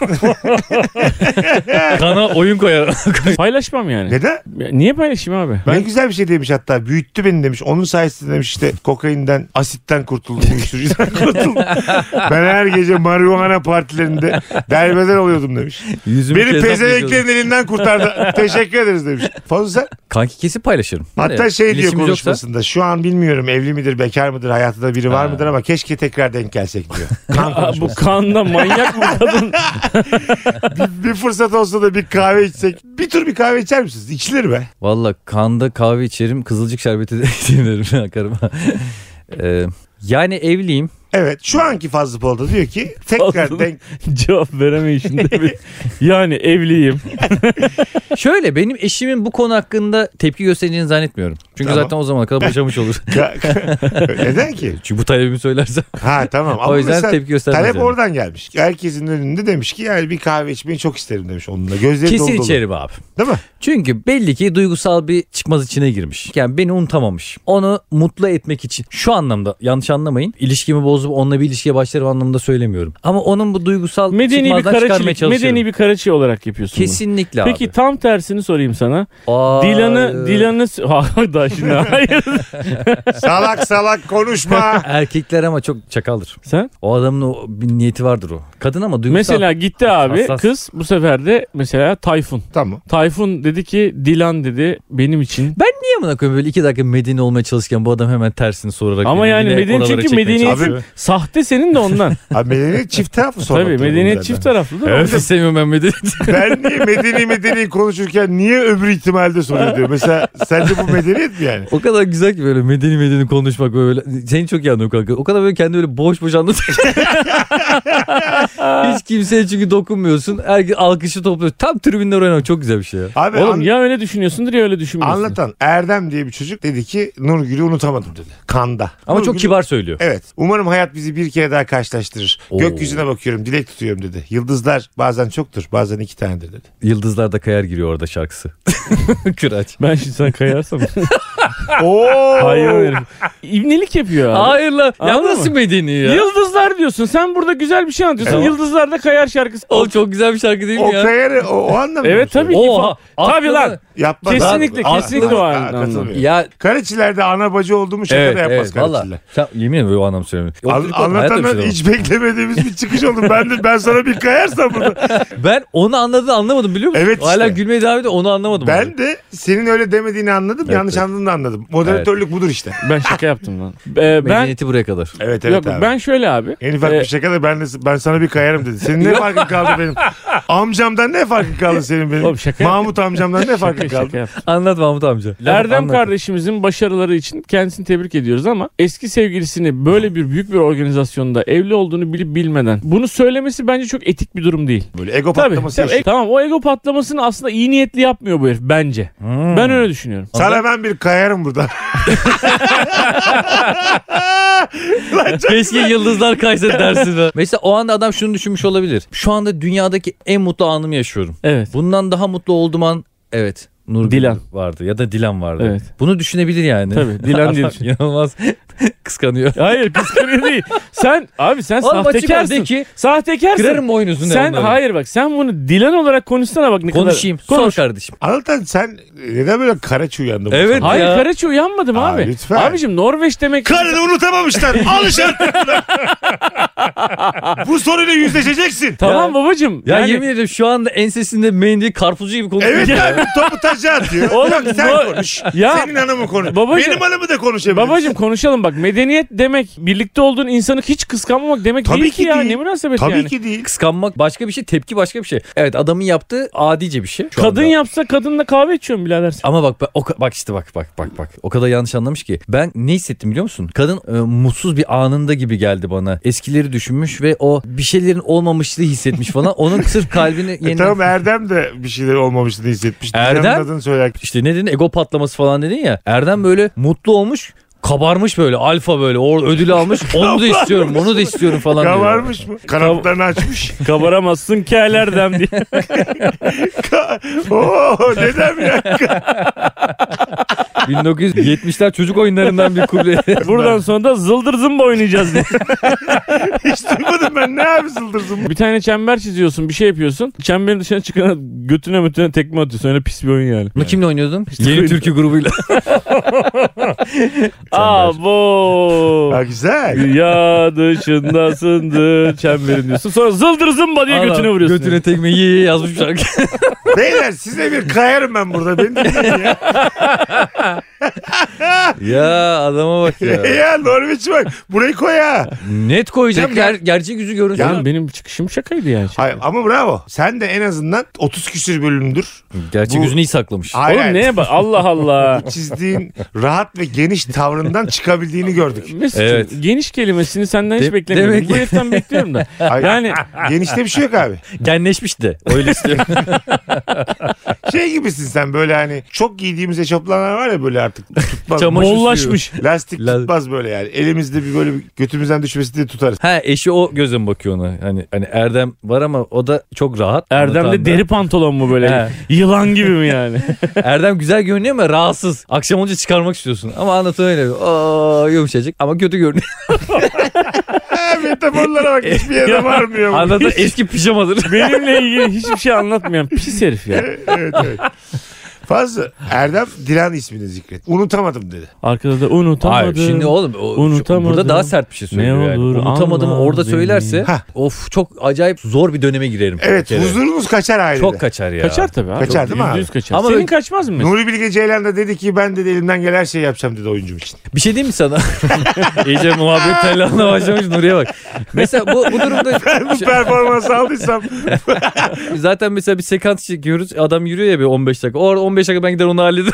D: Kana oyun koyar.
C: Paylaşmam yani.
B: Neden?
C: Ya Niye paylaşayım abi?
B: Ne güzel bir şey demiş hatta. Büyüttü beni demiş. Onun sayesinde demiş işte kokainden, asitten kurtuldum. Uyuşturucudan kurtuldum. ben her gece marihuana partilerinde derbeder oluyordum demiş.
D: Yüzümü
B: Beni
D: kezap
B: pezevenklerin
D: yazıyordu.
B: elinden kurtardı. teşekkür ederiz demiş. Fazla sen?
D: Kanki kesin paylaşırım.
B: Hatta
D: Nereye?
B: şey diyor
D: İletişimimiz yoksa-
B: konuşmasında şu an bilmiyorum evli midir bekar mıdır hayatında biri var
D: Ha.
B: mıdır ama keşke tekrar denk gelsek diyor. Kan
C: Aa, bu
B: konuşması.
C: kanda manyak mı kadın?
B: bir, bir fırsat olsa da bir kahve içsek. Bir tur bir kahve içer misiniz? İçilir be.
D: Valla kanda kahve içerim kızılcık şerbeti de içerim akarım. Ee, yani evliyim.
B: Evet şu anki Fazlı Polat'a diyor ki tekrar
C: Fazlı'nın-
B: denk.
C: Cevap veremeyişinde bir. Yani evliyim.
D: Şöyle benim eşimin bu konu hakkında tepki göstereceğini zannetmiyorum. Çünkü
B: Tamam.
D: zaten o zamana kadar boşamış olur.
B: Neden ki?
D: Çünkü bu talebimi söylerse.
B: Ha tamam. Ama
D: o yüzden
B: mesela
D: tepki göstermez.
B: Talep
D: yani.
B: oradan gelmiş. Herkesin önünde demiş ki yani bir kahve içmeyi çok isterim demiş onunla. Gözleri dolu
D: Kesin
B: dolu.
D: içerim abi.
B: Değil mi?
D: Çünkü belli ki duygusal bir çıkmaz içine girmiş. Yani beni unutamamış. Onu mutlu etmek için. Şu anlamda yanlış anlamayın. İlişkimi bozup onunla bir ilişkiye başlarım anlamında söylemiyorum. Ama onun bu duygusal
C: Medeni bir
D: çıkmazdan çıkarmaya
C: karaçı,
D: çalışıyorum.
C: medeni bir karaçı olarak yapıyorsun bunu.
D: Kesinlikle
C: Peki
D: abi.
C: tam tersini sorayım sana.
D: Aa,
C: Dilan'ı
D: e,
C: Dilan'ı ha da şimdi hayır.
B: Salak salak konuşma.
D: Erkekler ama çok çakaldır.
C: Sen
D: O adamın o bir niyeti vardır o. Kadın ama duygusal.
C: mesela gitti abi
D: Hassas.
C: kız bu sefer de mesela Tayfun.
B: tamam.
C: Tayfun dedi ki Dilan dedi benim için.
D: Niye amına koyayım böyle iki dakika medeni olmaya çalışırken bu adam hemen tersini sorarak.
C: Ama
D: beni
C: yani
D: yine
C: medeni
D: oralara
C: çünkü
D: çekmeye
C: medeni-
D: çalışıyor.
B: Abi,
C: Sahte senin de ondan.
B: abi medeniyet çift taraflı sonra.
C: Tabii medeniyet çift taraflı değil mi?
D: Öf istemiyorum ben medeni.
B: Ben niye medeni medeni konuşurken niye öbür ihtimalde soruyor diyor. Mesela sence bu medeniyet mi yani?
D: O kadar güzel ki böyle medeni medeni konuşmak böyle. Seni çok iyi anlıyorum kanka. O kadar böyle kendi böyle boş boş anlatıyor. Hiç kimseye çünkü dokunmuyorsun. Herkes alkışı topluyor. Tam tribünler oynamak çok güzel bir şey ya.
B: Abi
C: Oğlum
B: an-
C: ya öyle düşünüyorsundur ya öyle düşünmüyorsun.
B: anlatan Erdem diye bir çocuk dedi ki Nurgül'ü unutamadım dedi. Kanda.
D: Ama çok
B: Nurgül'ü-
D: kibar söylüyor.
B: Evet. Umarım hayat bizi bir kere daha karşılaştırır.
D: Oo.
B: Gökyüzüne bakıyorum, dilek tutuyorum dedi. Yıldızlar bazen çoktur, bazen iki tanedir dedi.
D: Yıldızlar da kayar giriyor orada şarkısı. Kıraç.
C: Ben şimdi sen kayarsam. Ah.
B: Oo!
C: Hayvan herif. İbnelik yapıyor abi.
D: Hayır lan. Ya
C: Anladın
D: nasıl
C: mı?
D: medeni ya?
C: Yıldızlar diyorsun. Sen burada güzel bir şey anlatıyorsun.
D: Evet.
C: Yıldızlar da kayar şarkısı.
D: Oğlum çok güzel bir şarkı değil
B: O
D: mi ya?
B: kayarı o, o anlamda. mı
C: Evet
B: söylüyor?
C: tabii.
D: Oha,
C: Oha. Tabii
D: aklı-
C: lan.
B: Yapmaz.
C: Kesinlikle
B: Aa,
C: kesinlikle
B: aa,
C: o
B: aa,
C: anlamda.
B: katılmıyorum.
D: Ya
B: Karaçilerde ana bacı oldu mu şaka
D: evet,
B: da yapmaz
D: evet, valla.
B: Karaçiller.
D: Sen- Yemin ederim o anlam söylemiyorum.
B: An-
D: Oturup oturup hayatta bir şey
B: anlatandan
D: demem.
B: hiç beklemediğimiz bir çıkış oldu. Ben de ben sana bir kayarsam burada.
D: Ben onu anladığını anlamadım biliyor musun?
B: Evet işte.
D: Hala gülmeye devam ediyor onu anlamadım. abi.
B: Ben de senin öyle demediğini anladım.
D: Evet,
B: yanlış
D: evet.
B: anladığını da anladım. Moderatörlük budur işte.
C: Ben şaka yaptım lan. Ee, ben
D: Medeniyeti buraya kadar.
B: Evet evet
C: Yok
B: abi.
C: ben şöyle abi.
B: En ufak
C: Ee,
B: bir şaka da ben, de, ben sana bir kayarım dedi. Senin ne farkın kaldı benim? Amcamdan ne farkın kaldı senin benim?
C: Oğlum şaka
B: Mahmut amcamdan ne farkın
C: şaka
B: kaldı?
C: yaptım.
D: Anlat Mahmut amca.
C: Erdem
D: Anlat.
C: kardeşimizin başarıları için kendisini tebrik ediyoruz ama eski sevgilisini böyle bir büyük bir organizasyonda evli olduğunu bilip bilmeden bunu söylemesi bence çok etik bir durum değil.
B: Böyle ego
C: Tabii,
B: patlaması
C: tabii. e,
B: yaşıyor.
C: tamam o ego patlamasını aslında iyi niyetli yapmıyor bu herif bence.
D: Hmm.
C: Ben öyle düşünüyorum.
B: Sana ben bir kayarım burada. Lan çok-
D: Keşke yıldızlar kaysa dersin. ha. Mesela o anda adam şunu düşünmüş olabilir. Şu anda dünyadaki en mutlu anımı yaşıyorum.
C: Evet.
D: Bundan daha mutlu olduğum an evet. Nurgül
C: Dilan.
D: vardı ya da Dilan vardı.
C: Evet.
D: Bunu düşünebilir yani.
C: Tabii, Dilan diye
D: Adam
C: düşün.
D: İnanılmaz Kıskanıyor.
C: Hayır kıskanıyor değil. Sen abi sen
D: Al maçı ver,
C: sahtekarsın.
D: de ki
C: Sahtekarsın.
D: kırarım boynuzunu.
C: sen
D: onların.
C: hayır bak sen bunu Dilan olarak konuşsana bak ne kadar.
D: Konuşayım.
C: Konuş.
D: Sor kardeşim.
B: Anlatan sen neden böyle karaç uyandın? bu
D: Evet.
B: sabah?
C: Hayır
D: Ya.
C: Karaçi uyanmadım
B: Aa,
C: abi.
B: lütfen.
C: Abicim Norveç demek.
B: Karını unutamamışlar. Alışan. Bu soruyla yüzleşeceksin.
C: Tamam babacım.
D: Ya
C: yani-
D: yemin ederim şu anda ensesinde mendil karpuzcu gibi konuşuyor.
B: Evet abi topu taca atıyor.
C: Oğlum,
B: Yok, sen
C: bu-
B: konuş.
C: Ya-
B: Senin hanımı konuş.
C: Babacım-
B: Benim hanımı da konuşabilir.
C: Babacım konuşalım bak medeniyet demek birlikte olduğun insanı hiç kıskanmamak demek
B: Tabii
C: değil ki,
B: ki
C: ya
B: değil.
C: ne münasebet
B: Tabii
C: yani.
B: ki değil.
D: Kıskanmak başka bir şey, tepki başka bir şey. Evet adamın yaptığı adice bir şey. şu
C: Kadın
D: anda.
C: yapsa kadınla kahve içiyorum birader.
D: Ama bak ben- o, ka- bak işte bak bak bak bak. O kadar yanlış anlamış ki. Ben ne hissettim biliyor musun? Kadın e, mutsuz bir anında gibi geldi bana. Eskileri düşünmüş ve o bir şeylerin olmamışlığı hissetmiş falan. Onun sırf kalbini
B: E
D: yeni...
B: tamam Erdem de bir şeyler olmamıştı hissetmişti.
D: Erdem?
B: Erdem? Adını söyler.
D: İşte ne dedin ego patlaması falan dedin ya. Erdem böyle mutlu olmuş. Kabarmış böyle alfa böyle o ödül almış onu da istiyorum onu da istiyorum falan diyor.
B: Kavarmış mı? Kanatlarını açmış.
C: Kabaramazsın ki Erdem diye.
B: Ka- Oo dedem ya.
D: 1970'ler çocuk oyunlarından bir kuble.
C: Buradan sonra da zıldır zımba oynayacağız diye.
B: Hiç duymadım ben. Ne abi zıldırsın bu?
C: bir tane çember çiziyorsun bir şey yapıyorsun. Çemberin dışına çıkana götüne mütüne tekme atıyorsun öyle pis bir oyun yani.
D: Bunu kimle oynuyordun?
C: oyun-
D: Yeni Türkü grubuyla.
C: Aa bu.
B: Ha, güzel.
C: Dünya dışındasındır çemberin diyorsun. Sonra zıldır zımba diye götüne
D: Adam
C: vuruyorsun.
D: Götüne tekme ye ye yazmış şarkı.
B: Beyler size bir kayarım ben burada. Beni dinleyin ya.
D: ya adama bak ya.
B: ya Norveç bak. Burayı koy ha.
D: Net koyacak.
B: Ya-
D: Ger- gerçek yüzü görünsün.
C: Yani benim çıkışım şakaydı yani.
B: Hayır, ama bravo. Sen de en azından 30 küsür bölümdür.
D: gerçek
B: bu-
D: yüzünü iyi saklamış.
B: Hayır,
C: Oğlum
B: hayır.
C: neye bak Allah Allah.
B: Çizdiğin rahat ve geniş tavrından çıkabildiğini gördük.
C: Mesut'cum
D: Evet.
C: geniş kelimesini senden hiç
D: De-
C: beklemiyordum.
D: demek
C: Bu
D: ki-
C: heriften bekliyorum da.
B: Ay,
C: Yani
B: Genişte bir şey yok abi.
D: Genleşmiş de. Öyle istiyorum.
B: Şey gibisin sen böyle hani çok giydiğimiz eşofmanlar var ya böyle artık tutmaz.
D: Çamaşır suyu.
C: bollaşmış.
B: Lastik
D: La-
B: tutmaz böyle yani. Elimizde bir böyle bir götümüzden düşmesi diye tutarız.
D: ha eşi o gözüm bakıyor ona. Hani hani Erdem var ama o da çok rahat.
C: Erdem'de
D: Anlatan da.
C: deri pantolon mu böyle? Yılan gibi mi yani?
D: Erdem güzel görünüyor ama rahatsız. Akşam olunca çıkarmak istiyorsun. Ama anlatan öyle. Aa, yumuşacık ama kötü görünüyor.
B: Ha, Metaforlara bak hiçbir yere varmıyor. bu.
D: anlatan eski pijamadır.
C: Benimle ilgili hiçbir şey anlatmayan pis herif ya.
B: evet, evet. Fazla. Erdem Dilan ismini zikret. Unutamadım dedi.
C: Arkada da unutamadım.
D: Hayır şimdi oğlum o- şu-
C: Unutamadım.
D: burada daha sert bir şey söylüyor
C: Ne
D: yani.
C: olur
D: Unutamadım
C: anla
D: orada
C: beni.
D: söylerse
B: Hah.
D: of çok acayip zor bir döneme girerim. Bir
B: Evet
D: kere.
B: huzurunuz kaçar ailede.
D: Çok kaçar ya.
C: Kaçar tabii abi.
B: Kaçar değil mi
C: Yüzde
B: abi?
C: yüz kaçar.
D: Ama
C: Senin
D: ben-
C: kaçmaz mı?
B: Nuri Bilge Ceylan da dedi ki ben dedi elimden gelen her şeyi yapacağım dedi oyuncum için.
D: Bir şey diyeyim mi sana? İyice muhabbet tellanına başlamış Nuri'ye bak. Mesela bu, bu durumda Şey,
B: Bu performansı aldıysam
D: zaten mesela bir sekans çekiyoruz. Adam yürüyor ya bir 15 dakika. O arada 15 dakika ben gider onu hallederim.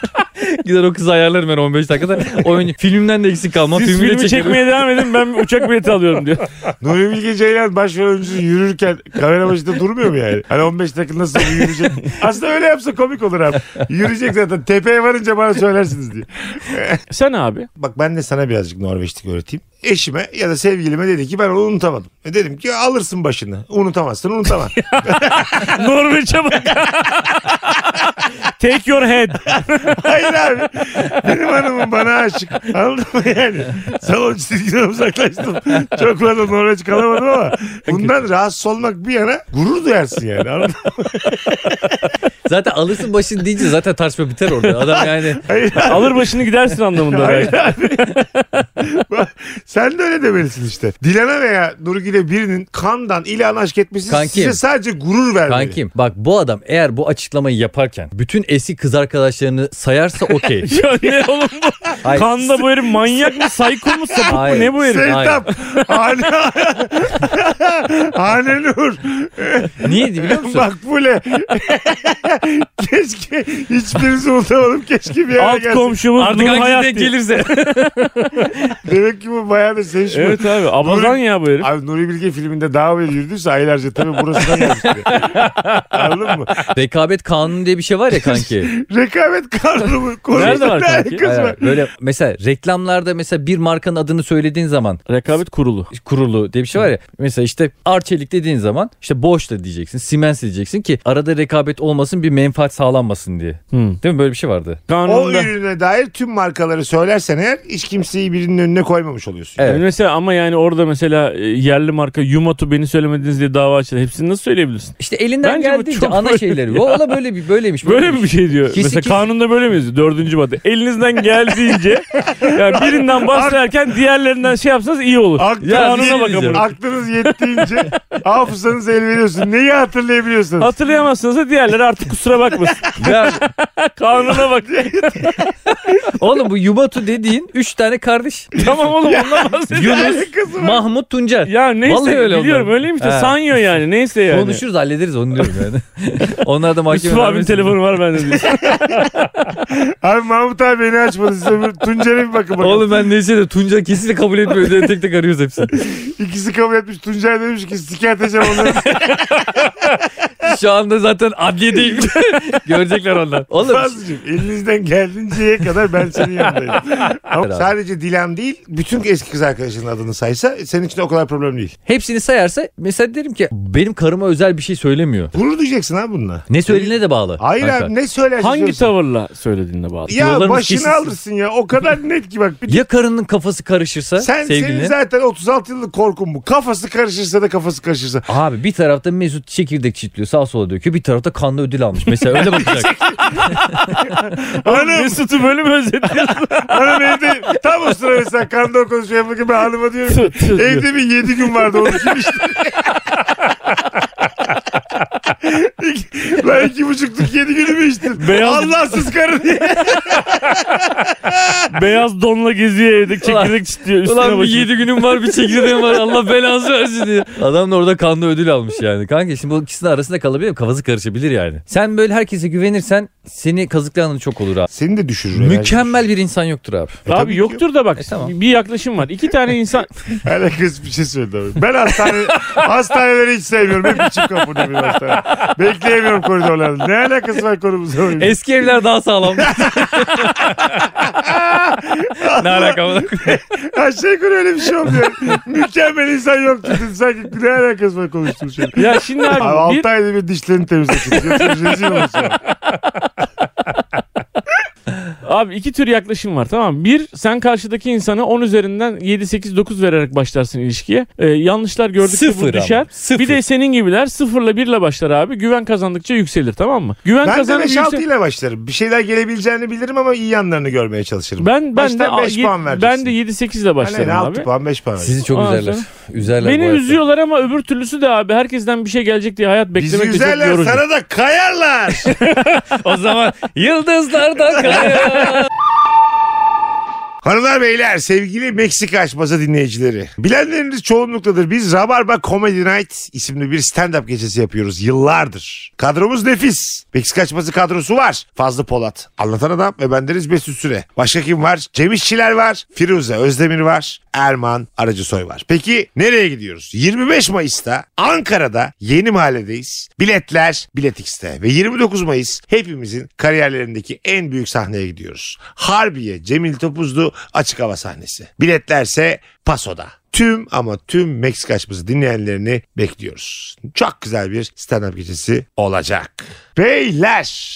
D: gider o kızı ayarlarım ben 15 dakikada. Oyun, filmimden de eksik kalmam.
C: Siz
D: Filmini
C: filmi
D: çekerim.
C: çekmeye devam edin ben bir uçak bileti alıyorum diyor.
B: Nuri Bilge Ceylan başrol oyuncusu yürürken kamera başında durmuyor mu yani? Hani 15 dakika nasıl bir yürüyecek? Aslında öyle yapsa komik olur abi. Yürüyecek zaten. Tepeye varınca bana söylersiniz diye.
C: Sen abi.
B: Bak ben de sana birazcık Norveçlik öğreteyim. Eşime ya da sevgilime dedi ki ben onu unutamadım. E dedim ki alırsın başını. Unutamazsın unutamam.
C: Norveç'e bak. Take your head.
B: Hayır abi. Benim hanımım bana aşık. Anladın mı yani? Salon çizgiden uzaklaştım. Çok fazla Norveç kalamadım ama bundan rahatsız olmak bir yana gurur duyarsın yani. Anladın mı?
D: Zaten alırsın başını deyince zaten tartışma biter orada. Adam yani
B: Hayır.
C: Alır başını gidersin anlamında belki.
B: Sen de öyle demelisin işte. Dilan'a veya Nurgül'e birinin kandan ilan aşk etmesi
D: Kankim.
B: size sadece gurur vermeli.
D: kankim bak bu adam eğer bu açıklamayı yaparken bütün eski kız arkadaşlarını sayarsa okey.
C: Ya ne oğlum bu?
D: Hayır.
C: Kanda bu herif manyak mı? Sayko mu? Sapık mı?
D: Hayır.
C: Ne bu herif?
B: Sevtap. Hane, Hane Nur.
D: Niye biliyor musun?
B: Makbule. Keşke hiçbirinizi unutamadım. Keşke bir yere
C: Alt
B: gelsin.
C: komşumuz Nur
D: hangisi
C: Hayat
D: denk
C: diye.
D: gelirse.
B: Demek ki bu bayağı da sevişme.
C: Evet abi abazan ya bu herif.
B: Abi Nuri Bilge filminde daha böyle yürüdüyse aylarca tabii burasına gelmişti. Anladın mı?
D: Rekabet kanunu diye bir şey var ya kanki. kanki.
B: Rekabet kanunu konusunda
C: Nerede var
B: ne
C: kanki?
B: alakası
D: Hayır,
B: var?
D: hayır. böyle mesela reklamlarda mesela bir markanın adını söylediğin zaman
C: Rekabet kurulu.
D: kurulu diye bir şey var ya. Mesela işte Arçelik dediğin zaman işte Boş'la diyeceksin, Siemens diyeceksin ki arada rekabet olmasın bir menfaat sağlanmasın diye.
C: Hmm.
D: Değil mi? Böyle bir şey vardı.
B: O
C: Kanunda.
B: ürüne dair tüm markaları söylersen eğer hiç kimseyi birinin önüne koymamış oluyorsun.
D: Evet.
C: Yani mesela ama yani orada mesela e, yerli marka Yumatu beni söylemediniz diye dava açtı. Hepsini nasıl söyleyebilirsin?
D: İşte elinden
C: Bence bu
D: geldiğince
C: çok
D: ana
C: böyle
D: şeyleri.
C: ya.
D: O o da böyle bir böyleymiş.
C: Böyle mi bir şey diyor?
D: Kesin,
C: mesela
D: kesin.
C: kanunda böyle mi yazıyor? Dördüncü madde. Elinizden geldiğince yani birinden bahsederken diğerlerinden şey yapsanız iyi olur.
B: Aklınız,
C: Ya anına bak
B: yettiğince,
C: amına.
B: aklınız yettiğince hafızanız el veriyorsun. Neyi hatırlayabiliyorsunuz?
C: Hatırlayamazsınız da diğerleri artık kusura bakmasın.
D: Ya,
C: Kanuna bak.
D: oğlum bu Yubatu dediğin 3 tane kardeş.
C: tamam oğlum ondan bahsediyorum.
D: Yunus,
B: Alakası var.
D: Mahmut, Tuncer.
C: Ya neyse
D: Vallahi öyle
C: biliyorum
D: onlar.
C: öyleymiş de
D: Ha.
C: sanıyor yani neyse yani.
D: Konuşuruz hallederiz onu diyorum yani. Onlar da mahkeme
C: Yusuf abinin telefonu var bende
D: Şey
C: diyor.
B: Abi Mahmut abi beni açmadı. Siz öbür Tuncer'e bir bakın bakalım.
D: Oğlum ben neyse de Tunca kesinlikle kabul etmiyor diye tek tek arıyoruz hepsini.
B: İkisi kabul etmiş. Tuncer demiş ki sikerteceğim onları.
D: Şu anda zaten adliyedeyim. Görecekler onlar. Oğlum
B: Fazlıcığım elinizden geldinceye kadar ben senin yanındayım. Ama sadece Dilan değil bütün eski kız arkadaşının adını saysa senin için o kadar problem değil.
D: hepsini sayarsa mesela derim ki benim karıma özel bir şey söylemiyor.
B: Gurur duyacaksın abi bununla.
D: Ne söylediğine de bağlı.
B: Hayır
D: Kanka.
B: abi ne söylersin?
C: Hangi
B: söylesin.
C: tavırla söylediğine bağlı.
B: Ya
D: Yollarımız
B: başını
D: kesişsin.
B: alırsın ya. O kadar net ki bak. Bir...
D: Ya karının kafası karışırsa
B: Sen senin
D: sevgilinin?
B: zaten 36 yıllık korkun bu. Kafası karışırsa da kafası karışırsa.
D: Abi bir tarafta Mesut çekirdek çitliyor sağa sola döküyor. Bir tarafta kanlı ödül almış. Mesela öyle bakacak.
B: Hanım,
C: Mesut'u böyle mi özetliyorsun?
B: hanım evde tam o sıra mesela kando konuşuyor yapmak ben hanıma diyorum. ki, Evde bir 7 gün vardı onun için işte. İki- Lan iki buçukluk yedi günü mü içtin?
C: Beyaz-
B: Allahsız karı diye.
C: Beyaz donla geziyor evde çekirdek çitliyor üstüne
D: Ulan bir
C: başına.
D: yedi günüm var bir çekirdeğim var Allah belanı versin diye. Adam da orada kanlı ödül almış yani. Kanka şimdi bu ikisinin arasında kalabilir mi? Kafası karışabilir yani. Sen böyle herkese güvenirsen seni kazıklayan çok olur abi.
B: Seni de düşürür. herhalde.
D: Mükemmel bir insan yoktur abi.
B: tabii
C: Abi
B: ki
C: yoktur da bak
D: E, tamam.
C: bir yaklaşım var. İki tane insan
B: Hala kız bir şey söyledi abi. Ben hastane, hastaneleri hiç sevmiyorum. Hep içim kapını bir hastane. Bekleyemiyorum koridorlarda. Ne alakası var konumuzla? benim?
D: Eski evler daha sağlam. ne alaka bu?
B: Aşağı yukarı öyle bir şey olmuyor. Mükemmel insan yok dedin. Sanki ne alakası var konuştuğumuz şey.
C: ya şimdi
B: Abi
C: abi,
B: 6
C: bir,
B: ayda bir dişlerini temizlesin. Yoksa şey rezil olursun.
C: abi iki tür yaklaşım var tamam mı? Bir sen karşıdaki insana 10 üzerinden 7 8 9 vererek başlarsın ilişkiye. Ee, yanlışlar gördükçe bu
D: Sıfır ama,
C: düşer.
D: sıfır.
C: Bir de senin gibiler sıfırla birle başlar abi. Güven kazandıkça yükselir tamam mı? Güven
B: Ben de
C: kazandıkça
B: 5-6 ile başlarım. Bir şeyler gelebileceğini bilirim ama iyi yanlarını görmeye çalışırım.
C: Ben ben de
B: Baştan beş puan
C: ben
B: vereceksin.
C: de 7 8 ile
B: Hani
C: başlarım
B: ne
C: abi.
B: 6 puan 5 puan.
D: Sizi çok
C: Ondan
D: üzerler.
C: sonra-
D: Üzerler bu
C: Beni
D: hayatta.
C: üzüyorlar ama öbür türlüsü de abi herkesten bir şey gelecek diye hayat
B: Bizi
C: beklemek de çok
B: üzerler
C: yorucu.
B: sana da kayarlar.
D: O zaman yıldızlardan kayar.
B: Hanımlar beyler sevgili Meksika açması dinleyicileri. Bilenleriniz çoğunluktadır. Biz Rabarba Comedy Night isimli bir stand-up gecesi yapıyoruz yıllardır. Kadromuz nefis. Meksika açması kadrosu var. Fazlı Polat, Anlatan Adam ve bendeniz Mesut Süre. Başka kim var? Cem İşçiler var. Firuze Özdemir var. Erman Aracısoy var. Peki nereye gidiyoruz? 25 Mayıs'ta Ankara'da Yeni Mahalledeyiz. Biletler Bilet X'te ve 29 Mayıs hepimizin kariyerlerindeki en büyük sahneye gidiyoruz. Harbiye Cemil Topuzlu açık hava sahnesi. Biletlerse Paso'da. Tüm ama tüm Meksika açması dinleyenlerini bekliyoruz. Çok güzel bir stand-up gecesi olacak. Beyler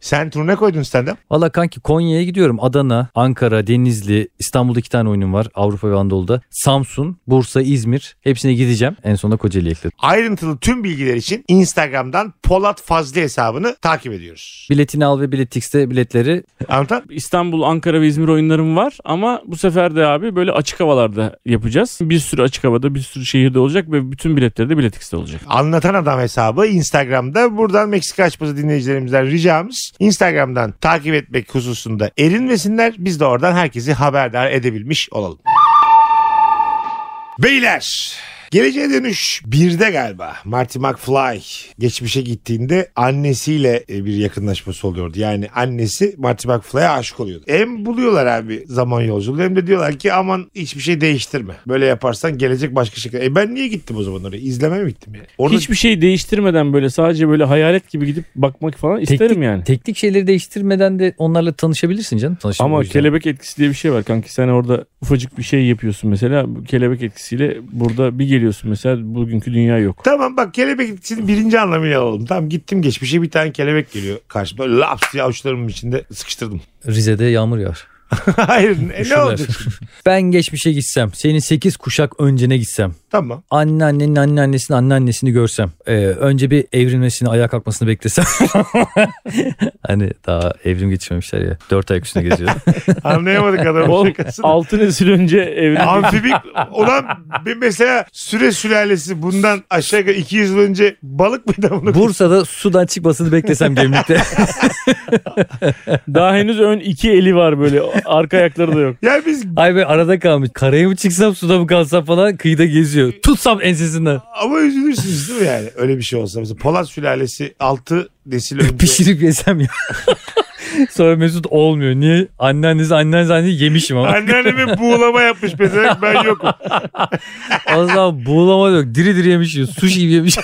B: sen turuna koydun stand-up.
D: Valla kanki Konya'ya gidiyorum. Adana, Ankara, Denizli, İstanbul'da iki tane oyunum var. Avrupa ve Anadolu'da. Samsun, Bursa, İzmir. Hepsine gideceğim. En sonunda Kocaeli ekledim.
B: Ayrıntılı tüm bilgiler için Instagram'dan Polat Fazlı hesabını takip ediyoruz.
D: Biletini al ve Biletix'te biletleri.
B: Anlatan?
C: İstanbul, Ankara ve İzmir oyunlarım var ama bu sefer de abi böyle açık havalarda yapacağız. Bir sürü açık havada, bir sürü şehirde olacak ve bütün biletleri de biletikste olacak.
B: Anlatan Adam hesabı Instagram'da. Buradan Meksika açması dinleyicilerimizden ricamız Instagram'dan takip etmek hususunda erinmesinler. Biz de oradan herkesi haberdar edebilmiş olalım. Beyler Geleceğe dönüş birde galiba. Marty McFly geçmişe gittiğinde annesiyle e, bir yakınlaşması oluyordu. Yani annesi Marty McFly'a aşık oluyordu. Hem buluyorlar abi zaman yolculuğu hem de diyorlar ki aman hiçbir şey değiştirme. Böyle yaparsan gelecek başka şekilde. E ben niye gittim o zaman oraya? İzlemeye mi gittim yani? Orada
C: Hiçbir şey değiştirmeden böyle sadece böyle hayalet gibi gidip bakmak falan isterim
D: teknik,
C: yani.
D: Teknik şeyleri değiştirmeden de onlarla tanışabilirsin canım. Tanışma o
C: Ama
D: yüzden.
C: kelebek etkisi diye bir şey var kanki. Sen orada ufacık bir şey yapıyorsun mesela. Bu Kelebek etkisiyle burada bir geliyorsun mesela bugünkü dünya yok.
B: Tamam bak kelebek etkisini birinci anlamıyla alalım. Tamam gittim geçmişe bir tane kelebek geliyor karşıma. Böyle Laps diye avuçlarımın içinde sıkıştırdım.
D: Rize'de yağmur yağar.
B: Hayır e, ne
D: Üşürler.
B: olacak? şimdi?
D: Ben geçmişe gitsem, senin 8 kuşak öncene gitsem,
B: tamam.
D: anneannenin anneannesinin anneannesini görsem, e, önce bir evrilmesini, ayağa kalkmasını beklesem. hani daha evrim geçirmemişler ya. 4 ayak üstüne geziyor.
B: Anlayamadık adamın
C: Oğlum,
B: şakasını.
C: altı nesil önce evlen.
B: Amfibik olan bir mesela süre sülalesi bundan aşağı yukarı 200 yıl önce balık mıydı bunu?
D: Bursa'da sudan çıkmasını beklesem gemlikte.
C: Daha henüz ön iki eli var böyle. Arka ayakları da yok.
B: Ya biz
D: Ay be arada kalmış. Karaya mı çıksam suda mı kalsam falan kıyıda geziyor. Tutsam ensesinden.
B: ama üzülürsünüz değil mi yani? Öyle bir şey olsa. Mesela Polat sülalesi 6 nesil önce.
C: şey-
D: Pişirip yesem ya. Sonra Mesut olmuyor. Niye? Anneannesi anneannesi annesi yemişim ama.
B: Anneanneme buğulama yapmış mesela ben yokum.
D: o zaman buğulama da yok. Diri diri yemiş yiyor. Sushi gibi yemiş.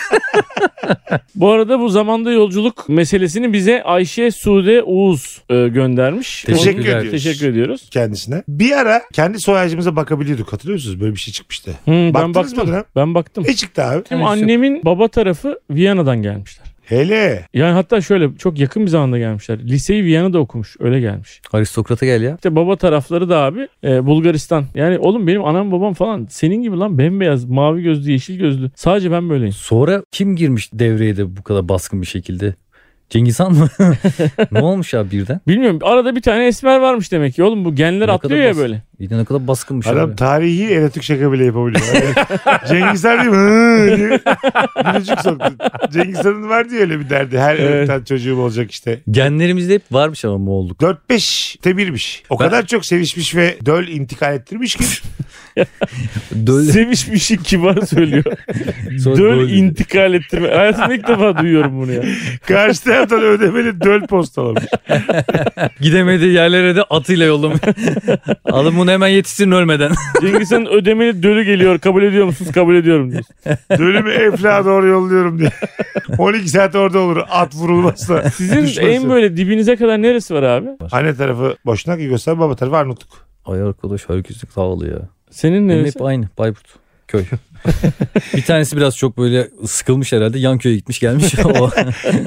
C: Bu arada bu zamanda yolculuk meselesini bize Ayşe Sude Uğuz e, göndermiş.
B: Teşekkür
C: Teşekkür,
B: ediyoruz.
C: ediyoruz.
B: Kendisine. Bir ara kendi soy ağacımıza bakabiliyorduk hatırlıyor musunuz? Böyle bir şey çıkmıştı.
C: Hı, ben
B: Baktınız mı
C: baktım.
B: buna?
C: Ben baktım.
B: Ne çıktı abi?
C: Şimdi annemin baba tarafı Viyana'dan gelmişler.
B: Hele.
C: Yani hatta şöyle çok yakın bir zamanda gelmişler. Liseyi Viyana'da okumuş. Öyle gelmiş.
D: Aristokrata gel ya.
C: İşte baba tarafları da abi e, Bulgaristan. Yani oğlum benim anam babam falan senin gibi lan bembeyaz, mavi gözlü, yeşil gözlü. Sadece ben böyleyim.
D: Sonra kim girmiş devreye de bu kadar baskın bir şekilde? Cengiz Han mı? ne olmuş abi birden?
C: Bilmiyorum. Arada bir tane esmer varmış demek ki. Oğlum bu genler
D: Ne
C: atlıyor
D: kadar
C: ya
D: basit.
C: böyle.
D: Bir de ne kadar baskınmış
C: şey
B: Adam
D: abi.
B: tarihi erotik şaka bile yapabiliyor. Yani Cengiz Han değil mi? Hı diye Gülücük soktu. Cengiz Han'ın vardı ya öyle bir derdi. Her
C: Evet.
B: öğreten çocuğum olacak işte.
D: Genlerimizde hep varmış ama Moğolluk.
B: 4-5 te birmiş. O
D: Ben-
B: kadar çok sevişmiş ve döl intikal ettirmiş ki.
D: Döl-
C: Sevişmişin şey kibar söylüyor.
D: Sonra
C: Döl
D: döl-
C: intikal ettirme. Hayatımda ilk defa duyuyorum bunu ya.
B: Karşı taraftan ödemeli döl postalamış.
D: Gidemediği yerlere de atıyla yollamış. Alın bunu hemen yetişsin ölmeden.
C: Cengiz Han'ın ödemeli dölü geliyor. Kabul ediyor musunuz? Kabul ediyorum diyorsun.
B: Dölümü Eflak'a doğru yolluyorum diye. 12 saat orada olur at vurulmazsa.
C: Sizin en böyle dibinize kadar neresi var abi?
B: Anne tarafı boşnak Yugoslav baba tarafı Arnavutluk.
D: Ay arkadaş herkesin havalı ya.
C: Senin
D: Benim
C: neresi?
D: hep aynı Bayburt köy. bir tanesi biraz çok böyle sıkılmış herhalde. Yan köye gitmiş gelmiş. O,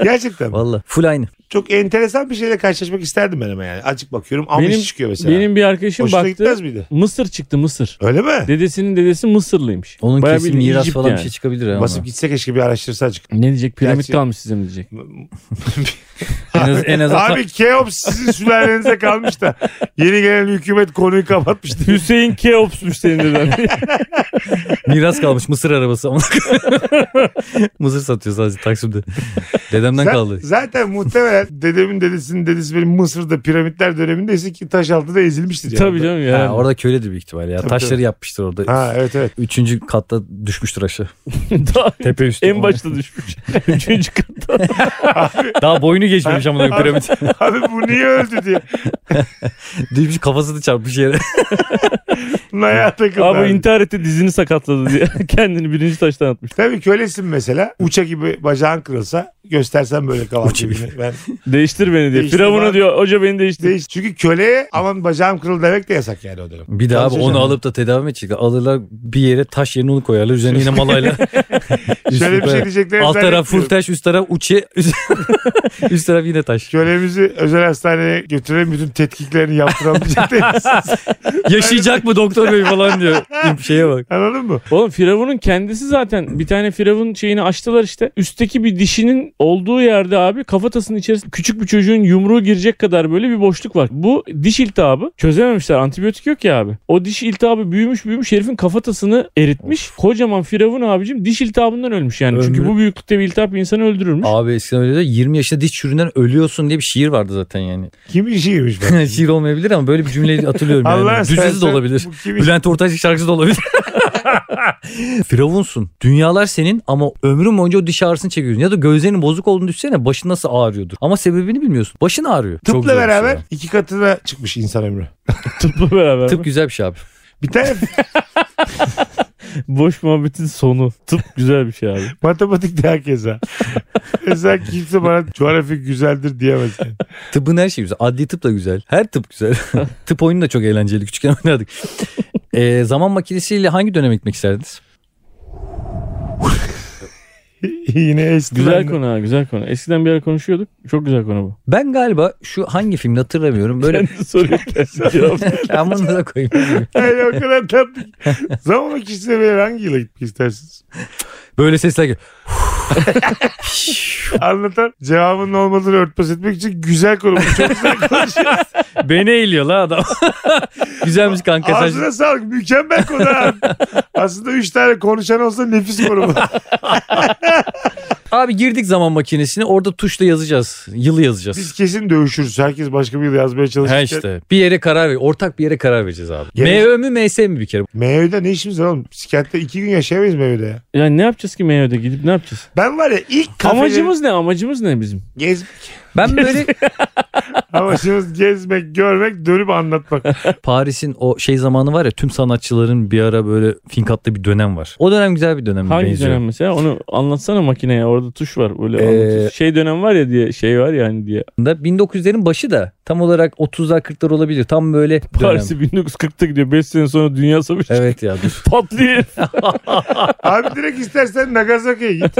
B: Gerçekten.
D: Valla full aynı.
B: çok enteresan bir şeyle karşılaşmak isterdim ben ama yani. Açık bakıyorum Amiş
C: Benim-
B: çıkıyor mesela.
C: Benim bir arkadaşım
B: Hoşuna
C: baktı.
B: gitmez miydi?
C: Mısır çıktı Mısır.
B: Öyle mi?
C: Dedesinin dedesi Mısırlıymış.
D: Onun
C: Bayağı
D: kesin
C: bildiğin
D: miras
C: Egypt
D: falan
C: yani.
D: bir şey çıkabilir ama.
B: Basıp gitse keşke bir araştırsa açık.
C: Ne diyecek? Piramit
B: Gerçi-
C: kalmış size mi diyecek?
D: En az, en az
B: Abi Keops sizin sülalenize kalmış da yeni gelen hükümet konuyu kapatmış diye.
C: Hüseyin Keops'muş senin deden.
D: miras kalmış mısır arabası. mısır satıyor sadece Taksim'de. Dedemden
B: Sen-
D: kaldı.
B: Zaten muhtemelen dedemin dedesinin dedesi benim Mısır'da piramitler dönemindeyse ki taş altında ezilmiştir. Yani.
C: Tabii canım ya.
D: Ha, orada köledir büyük ihtimalle ya.
B: Tabii,
D: Taşları
B: tabii.
D: yapmıştır orada.
B: Ha evet evet.
D: Üçüncü katta düşmüştür aşağı.
C: Daha
D: Tepe üstü.
C: en başta düşmüş. Üçüncü kat.
D: Daha boynu geçmemiş ama da piramit.
B: Abi bu niye öldü diye.
D: Düşmüş kafası da çarpmış yere.
B: Bunun ayağı takıldı.
C: Abi
B: abi.
C: intihar etti dizini sakatladı diye. Kendini birinci taştan atmış.
B: Tabii kölesin mesela. Uça gibi bacağın kırılsa göstersen böyle kalan gibi. Ben
C: Değiştir beni diye.
B: Değiştir
C: Firavun'a
B: abi.
C: diyor hoca beni değiştir.
B: değiş. Çünkü köleye aman bacağım kırıldı demek de yasak yani o dönem.
D: Bir de abi
B: Çalışacağım.
D: onu alıp da tedavi mi edecek? Alırlar bir yere taş yerine onu koyarlar. Üzerine yine malayla.
B: Şöyle bir şey diyeceklerini
D: Alt taraf full
B: zannetmiyorum.
D: taş, üst taraf uçi. Üst, üst taraf yine taş.
B: Kölemizi özel hastaneye götürelim bütün tetkiklerini şey yaptıralım diyecekleriniz.
D: Yaşayacak mı doktor bey falan diyor. Şeye bak.
B: Anladın mı?
C: Oğlum Firavun'un kendisi zaten bir tane Firavun şeyini açtılar işte. Üstteki bir dişinin olduğu yerde abi kafatasının içerisinde küçük bir çocuğun yumruğu girecek kadar böyle bir boşluk var. Bu diş iltihabı çözememişler. Antibiyotik yok ya abi. O diş iltihabı büyümüş büyümüş herifin kafatasını eritmiş. Kocaman firavun abicim diş iltihabından ölmüş yani. Çünkü
D: Ömrü-
C: bu büyüklükte bir iltihap insanı öldürürmüş.
D: Abi eskiden öyle de 20 yaşında diş çüründen ölüyorsun diye bir şiir vardı zaten yani.
B: Kim işiymiş ben?
D: şiir olmayabilir ama böyle bir cümleyi hatırlıyorum yani.
B: Allah
D: Düzesi de olabilir. Bülent Ortaç'ın şarkısı da olabilir. Firavunsun. Dünyalar senin ama ömrün boyunca o diş ağrısını çekiyorsun. Ya da gözlerinin bozuk olduğunu düşünsene başın nasıl ağrıyordur. Ama sebebini bilmiyorsun. Başın ağrıyor. Çok
B: Tıpla
D: zor bir şey
B: beraber
D: ya.
B: iki katına çıkmış insan ömrü.
C: Tıpla beraber.
D: Tıp güzel bir şey abi.
B: Bir tane
C: Boş muhabbetin sonu. Tıp güzel bir şey abi.
B: matematik de herkese. Mesela kimse bana coğrafya güzeldir diyemez. yani.
D: Tıbbın her şeyi güzel. Adli tıp da güzel. Her tıp güzel. tıp oyunu da çok eğlenceli. Küçükken oynardık. Ee, zaman makinesiyle hangi döneme gitmek isterdiniz?
B: Yine eski.
C: Güzel konu ha güzel konu. Eskiden bir ara konuşuyorduk. Çok güzel konu bu.
D: Ben galiba şu hangi filmde hatırlamıyorum. Böyle
C: Kendi soruyor kendi cevap.
D: amına da koyayım.
B: Yani o kadar tatlı. ki. Zaman makinesine verir hangi yıla gitmek istersiniz?
D: Böyle sesler geliyor.
B: Anlatan cevabının olmadığını örtbas etmek için güzel konu. Bu Çok güzel konuşuyor.
D: Beni eğiliyor la adam. Güzelmiş kanka. sen-
B: Ağzına sağlık. Mükemmel konu. ha. Aslında üç tane konuşan olsa nefis konu bu.
D: Abi girdik zaman makinesine orada tuşla yazacağız. Yılı
B: Biz
D: yazacağız.
B: kesin dövüşürüz. Herkes başka bir yıl yazmaya
D: Ha
B: çalışırken.
D: işte. Bir yere karar ver. Ortak bir yere karar vereceğiz abi.
B: Gerek-
D: MÖ mü MS mi bir kere?
B: MYÖ'de ne işimiz var oğlum? Psikiyatride iki gün yaşayamayız MYÖ'de ya.
C: Yani ne yapacağız ki MYÖ'de gidip ne yapacağız?
B: Ben var ya ilk kafeye...
C: Amacımız ne? Amacımız ne bizim?
B: Gezmek.
D: Ben böyle
B: Amacımız gezmek, görmek, dönüp anlatmak.
D: Paris'in o şey zamanı var ya tüm sanatçıların bir ara böyle finkatlı bir dönem var. O dönem güzel bir dönem
C: Hangi
D: Hmm, benziyor.
C: dönem mesela? Onu anlatsana makineye. Orada tuş var. Öyle
D: Ee,
C: anlatıyorsun. Şey dönem var ya diye. Şey var yani diye.
D: Da 1900'lerin başı da tam olarak 30'lar 40'lar olabilir. Tam böyle dönem.
C: Paris'i 1940'ta gidiyor. 5 sene sonra dünya savaşı
D: Evet ya dur.
C: patlıyor.
B: Abi direkt istersen Nagasaki'ye git.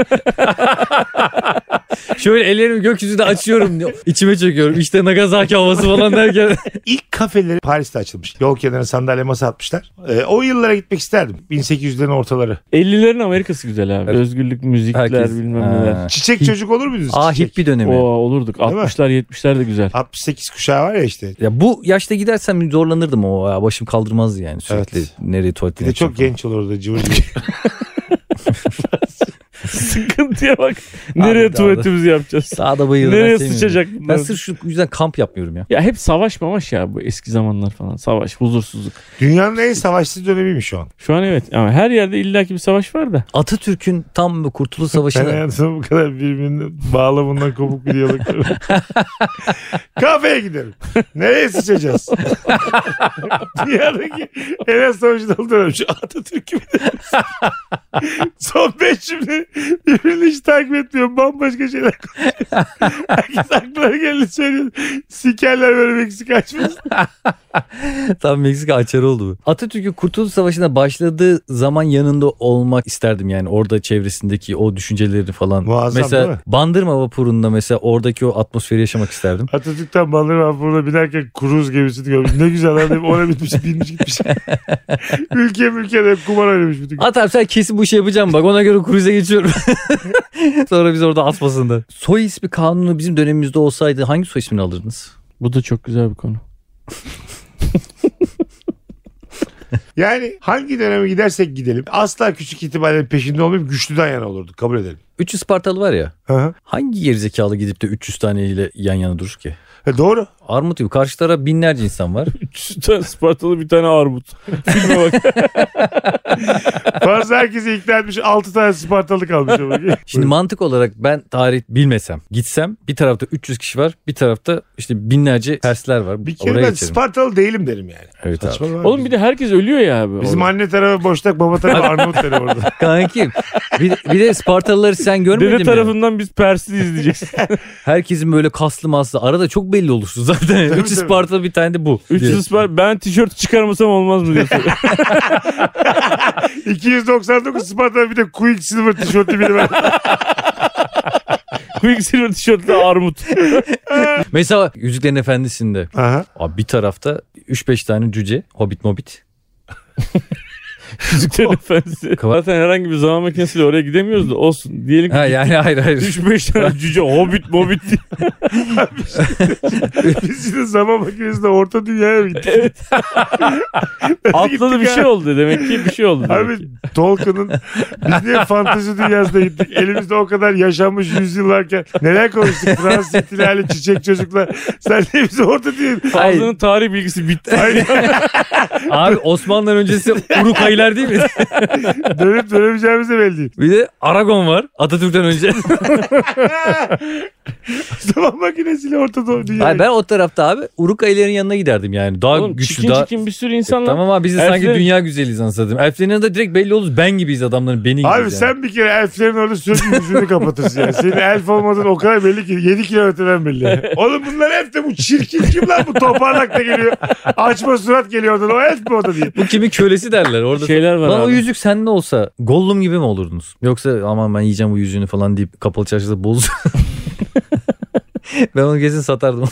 D: Şöyle ellerimi gökyüzünde açıyorum. içime çekiyorum. İşte Nagasaki havası falan derken.
B: İlk kafeleri Paris'te açılmış. Yol kenarına sandalye masa atmışlar. Ee, o yıllara gitmek isterdim. 1800'lerin ortaları.
C: 50'lerin Amerika'sı güzel abi.
D: Evet.
C: Özgürlük, müzikler
D: Herkes.
C: bilmem
D: Ha.
C: neler.
B: Çiçek
D: Hip-
B: çocuk olur muydunuz?
D: Aa
B: çiçek?
D: hippi dönemi.
C: Oo, olurduk.
B: mi?
C: 60'lar 70'ler de güzel.
B: 68 kuşağı var ya işte.
D: Ya bu yaşta gidersem zorlanırdım ama ya başım kaldırmazdı yani sürekli
B: Evet.
D: nereye tuvalete
B: Bir de çok genç olurdu cıvır cıvır.
C: Sıkıntıya bak. Nereye
D: Abi,
C: tuvaletimizi yapacağız?
D: Daha da bayılırım.
C: Nereye
D: ben sevmiyorum.
C: sıçacak
D: Ben
C: bunlar?
D: sırf şu yüzden kamp yapmıyorum ya.
C: Ya hep savaş mamaş ya bu eski zamanlar falan. Savaş, huzursuzluk.
B: Dünyanın en savaşsız dönemiymiş şu an.
C: Şu an evet ama her yerde illaki bir savaş var da.
D: Atatürk'ün tam bu Kurtuluş
B: Ben
D: Savaşı'na
B: hayatımda bu kadar birbirinin bağlamından kopuk bir diyalog görmedim. Kafeye gidelim. Nereye sıçacağız? Dünyadaki en az savaşın dönem şu Atatürk'ü bir de- Son beş cümle birbirini hiç takip etmiyor. Bambaşka şeyler konuşuyor. Herkes aklına geleni söylüyor. Sikerler böyle Meksika açmasın.
D: tam Meksika açarı oldu. bu. Atatürk'ün Kurtuluş Savaşı'na başladığı zaman yanında olmak isterdim yani orada çevresindeki o düşünceleri falan.
B: Muazzam,
D: mesela
B: değil mi?
D: Bandırma vapurunda mesela oradaki o atmosferi yaşamak isterdim.
B: Atatürk'ten Baldır vapuruna binerken kruz gemisini görmüş. Ne güzel lan deyip ona bitmiş binmiş gitmiş. ülke ülke de kumar oynamış bütün gün.
D: At abi sen kesin bu işi yapacağım bak ona göre kruize geçiyorum. Sonra biz orada atmasın da. Soy ismi kanunu bizim dönemimizde olsaydı hangi soy ismini alırdınız?
C: Bu da çok güzel bir konu.
B: Yani hangi döneme gidersek gidelim asla küçük ihtimallerin peşinde olmayıp güçlüden yana olurduk kabul edelim.
D: 3 Ispartalı var ya.
B: Hı hı.
D: Hangi gerizekalı gidip de 300 taneyle yan yana durur ki?
B: E doğru.
D: Armut gibi karşı tarafa binlerce insan var.
C: 3 tane Spartalı bir tane armut. Filme bak.
B: Fazla herkesi ikna etmiş 6 tane Spartalı kalmış. ama.
D: Şimdi mantık olarak ben tarih bilmesem gitsem bir tarafta 300 kişi var bir tarafta işte binlerce Persler var.
B: bir kere
D: Oraya
B: ben
D: geçerim.
B: Spartalı değilim derim yani.
D: Evet abi.
B: Saçmalama.
C: E, Oğlum bir de herkes ölüyor ya abi.
B: Bizim
C: orada.
B: anne tarafı boştak baba tarafı Arnavut tarafı orada.
D: Kankim bir, bir de Spartalıları sen görmedin
C: Dede
D: mi?
C: tarafından biz Persli izleyeceğiz.
D: Herkesin böyle kaslı maslı arada çok belli olursun zaten.
B: Tabii,
D: Üç
B: tabii.
D: Spartalı bir tane de bu.
C: 300 Spart ben tişört çıkarmasam olmaz mı diyorsun.
B: 299 Spartalı bir de Quicksilver tişörtü biri var.
C: Quicksilver tişörtlü armut.
D: Mesela Yüzüklerin Efendisi'nde
B: Aha.
D: abi bir tarafta 3-5 tane cüce hobbit mobit.
C: Yüzüklerin Efendisi. Zaten herhangi bir zaman makinesiyle oraya gidemiyoruz da olsun. Diyelim ki
D: Ha yani hayır hayır.
C: 3-5 tane cüce hobbit mobit diye.
B: Biz yine zaman makinesinde orta dünyaya mı gittik.
C: Atladı bir şey oldu demek ki bir şey oldu. demek ki.
B: Abi Tolkien'ın biz niye fantezi dünyasına gittik? Elimizde o kadar yaşanmış yüzyıllarken neler konuştuk? Fransız ihtilali, çiçek çocuklar. Sen de bize orta değil.
C: Fazlının tarih bilgisi bitti.
D: Abi Osmanlı'dan öncesi Urukaylar değil mi?
B: Dönüp dönemeyeceğimiz de belli değil.
D: Bir de Aragon var Atatürk'ten önce.
B: Zaman makinesiyle orta doğu dünyaya
D: Hayır, ben o tarafta abi Urukayların yanına giderdim yani. Daha
C: Oğlum
D: güçlü
C: çikin
D: daha...
C: çikin bir sürü insan lan.
D: Tamam abi biz de sanki
C: Elflerin-
D: dünya güzeliyiz anlasadım. Elflerin yanında direkt belli oluruz. Ben gibiyiz adamların beni gibiyiz
B: Abi
D: yani.
B: sen bir kere elflerin orada sürekli yüzünü kapatırsın yani. Senin elf olmadığın o kadar belli ki 7 kilometreden belli. Oğlum bunlar elf de bu çirkin kim lan bu toparlak da geliyor. Açma surat geliyor oradan o elf mi o da diye.
D: Bu kimin kölesi derler
B: Şey
D: orada.
C: Şeyler var
D: Lan o
C: abi.
D: yüzük sende olsa Gollum gibi mi olurdunuz? Yoksa aman ben yiyeceğim bu yüzüğünü falan deyip kapalı çarşıda boz. ben onu kesin satardım.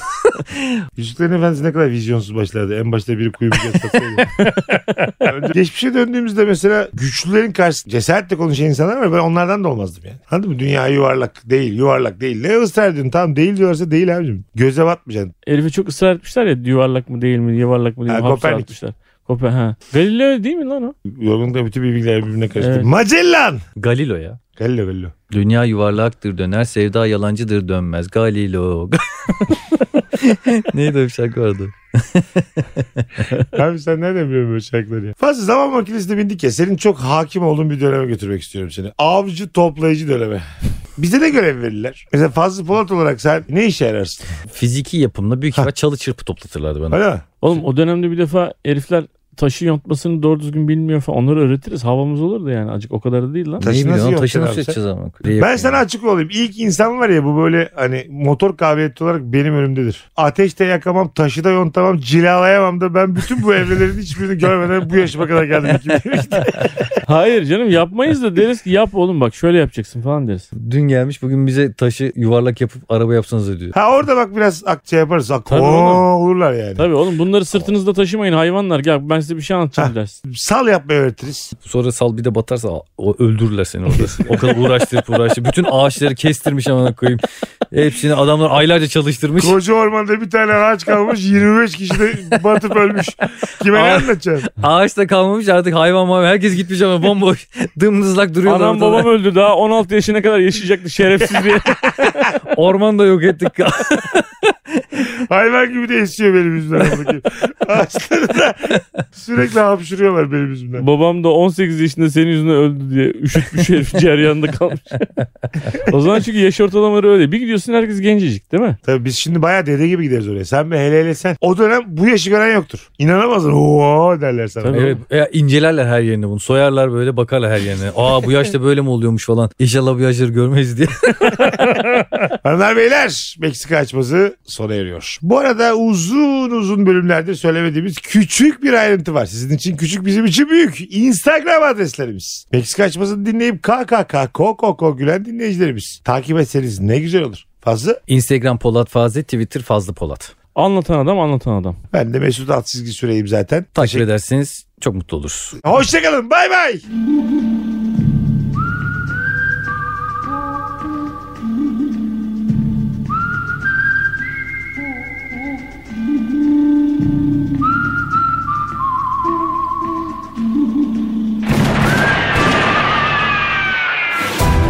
B: Yüzüklerin Efendisi ne kadar vizyonsuz başlardı. En başta biri kuyu bir kez satsaydı. Önce Geçmişe döndüğümüzde mesela güçlülerin karşısında cesaretle konuşan insanlar var. Ben onlardan da olmazdım yani. Anladın mı? Dünya yuvarlak değil, yuvarlak değil. Ne ısrar ediyorsun? Tamam değil diyorlarsa değil abicim. Göze batmayacaksın.
C: Herife çok ısrar etmişler ya yuvarlak mı değil mi yuvarlak mı değil mi
B: Ha,
C: hapse
B: Kopernik.
C: atmışlar. Koper, ha. Galileo değil mi lan o?
B: Yorgunlukta bütün bilgiler birbirine karıştı.
C: Evet.
B: Magellan!
D: Galilo ya.
B: Galileo Galileo.
D: Dünya yuvarlaktır döner, sevda yalancıdır dönmez. Galilo. Neydi o bir şarkı vardı?
B: Abi sen nereden biliyorsun böyle şarkıları ya? Fazla zaman makinesine bindik ya. Senin çok hakim olduğun bir döneme götürmek istiyorum seni. Avcı toplayıcı döneme. Bize de görev verirler. Mesela Fazlı Polat olarak sen ne işe yararsın?
D: Fiziki yapımla büyük ihtimal çalı çırpı toplatırlardı bana.
B: Öyle mi?
C: Oğlum o dönemde bir defa herifler taşı yontmasını doğru düzgün bilmiyor falan. Onları öğretiriz. Havamız olurdu yani. Acık o kadar da değil lan.
B: Taşı
D: Neyi
B: nasıl
D: biliyorsun?
B: yok
D: Taşı
B: sen
D: nasıl
B: abi sen?
D: yapacağız ama?
C: Şey
B: Ben sana açık olayım. İlk insan var ya bu böyle hani motor kabiliyeti olarak benim önümdedir. Ateşte yakamam, taşı da yontamam, cilalayamam da ben bütün bu evrelerin hiçbirini görmeden bu yaşıma kadar geldim.
C: Hayır canım yapmayız da deriz ki yap oğlum bak şöyle yapacaksın falan deriz.
D: Dün gelmiş bugün bize taşı yuvarlak yapıp araba yapsanız diyor.
B: ha orada bak biraz ak şey yaparız. Ak
C: Tabii
B: Oo,
C: oğlum.
B: olurlar yani.
C: Tabii oğlum bunları sırtınızda taşımayın hayvanlar. Gel ben size bir şey anlatacağım dersin.
B: Sal yapmayı öğretiriz.
D: Sonra sal bir de batarsa o öldürürler seni orada. o kadar uğraştırıp uğraştırıp. Bütün ağaçları kestirmiş amına koyayım. Hepsini adamlar aylarca çalıştırmış.
B: Koca ormanda bir tane ağaç kalmış 25 kişi de batıp ölmüş. Kime ne
D: Ay.
B: anlatacaksın?
D: Ağaç da kalmamış artık hayvan var. Herkes gitmiş ama bomboş. Dımdızlak duruyorlar.
C: Anam
D: ortada.
C: babam öldü daha 16 yaşına kadar yaşayacaktı şerefsiz diye.
D: Orman da yok ettik.
B: Hayvan gibi de esiyor benim yüzümden. buradaki. Ağaçları da sürekli hapşırıyorlar benim yüzümden.
C: babam da 18 yaşında senin yüzünden öldü diye üşütmüş herif ceryanda kalmış. o zaman çünkü yaş ortalamaları öyle. Bir gidiyorsun herkes gencecik değil mi?
B: Tabii biz şimdi bayağı dede gibi gideriz oraya. Sen be hele hele sen. O dönem bu yaşı gören yoktur. İnanamazsın. Oo derler sana.
C: Tabii.
D: Evet, e, incelerler her yerini bunu. Soyarlar böyle bakarlar her yerine. Aa bu yaşta böyle mi oluyormuş falan. İnşallah bu yaşları görmeyiz diye.
B: Hanımlar beyler Meksika açması sona eriyor. Bu arada uzun uzun bölümlerdir söylemediğimiz küçük bir ayrıntı var. Sizin için küçük bizim için büyük. Instagram adreslerimiz. Meksika açmasını dinleyip KKK KOKOKO gülen dinleyicilerimiz. Takip etseniz ne güzel olur. Fazla
D: Instagram Polat Fazlı, Twitter Fazlı Polat.
C: Anlatan adam anlatan adam.
B: ben de Mesut alt çizgi süreyim zaten.
D: Takip ederseniz çok mutlu oluruz.
B: Hoşçakalın bay bay.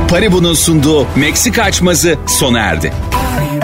A: Paribu'nun sunduğu Meksika açması sona erdi.
E: Are you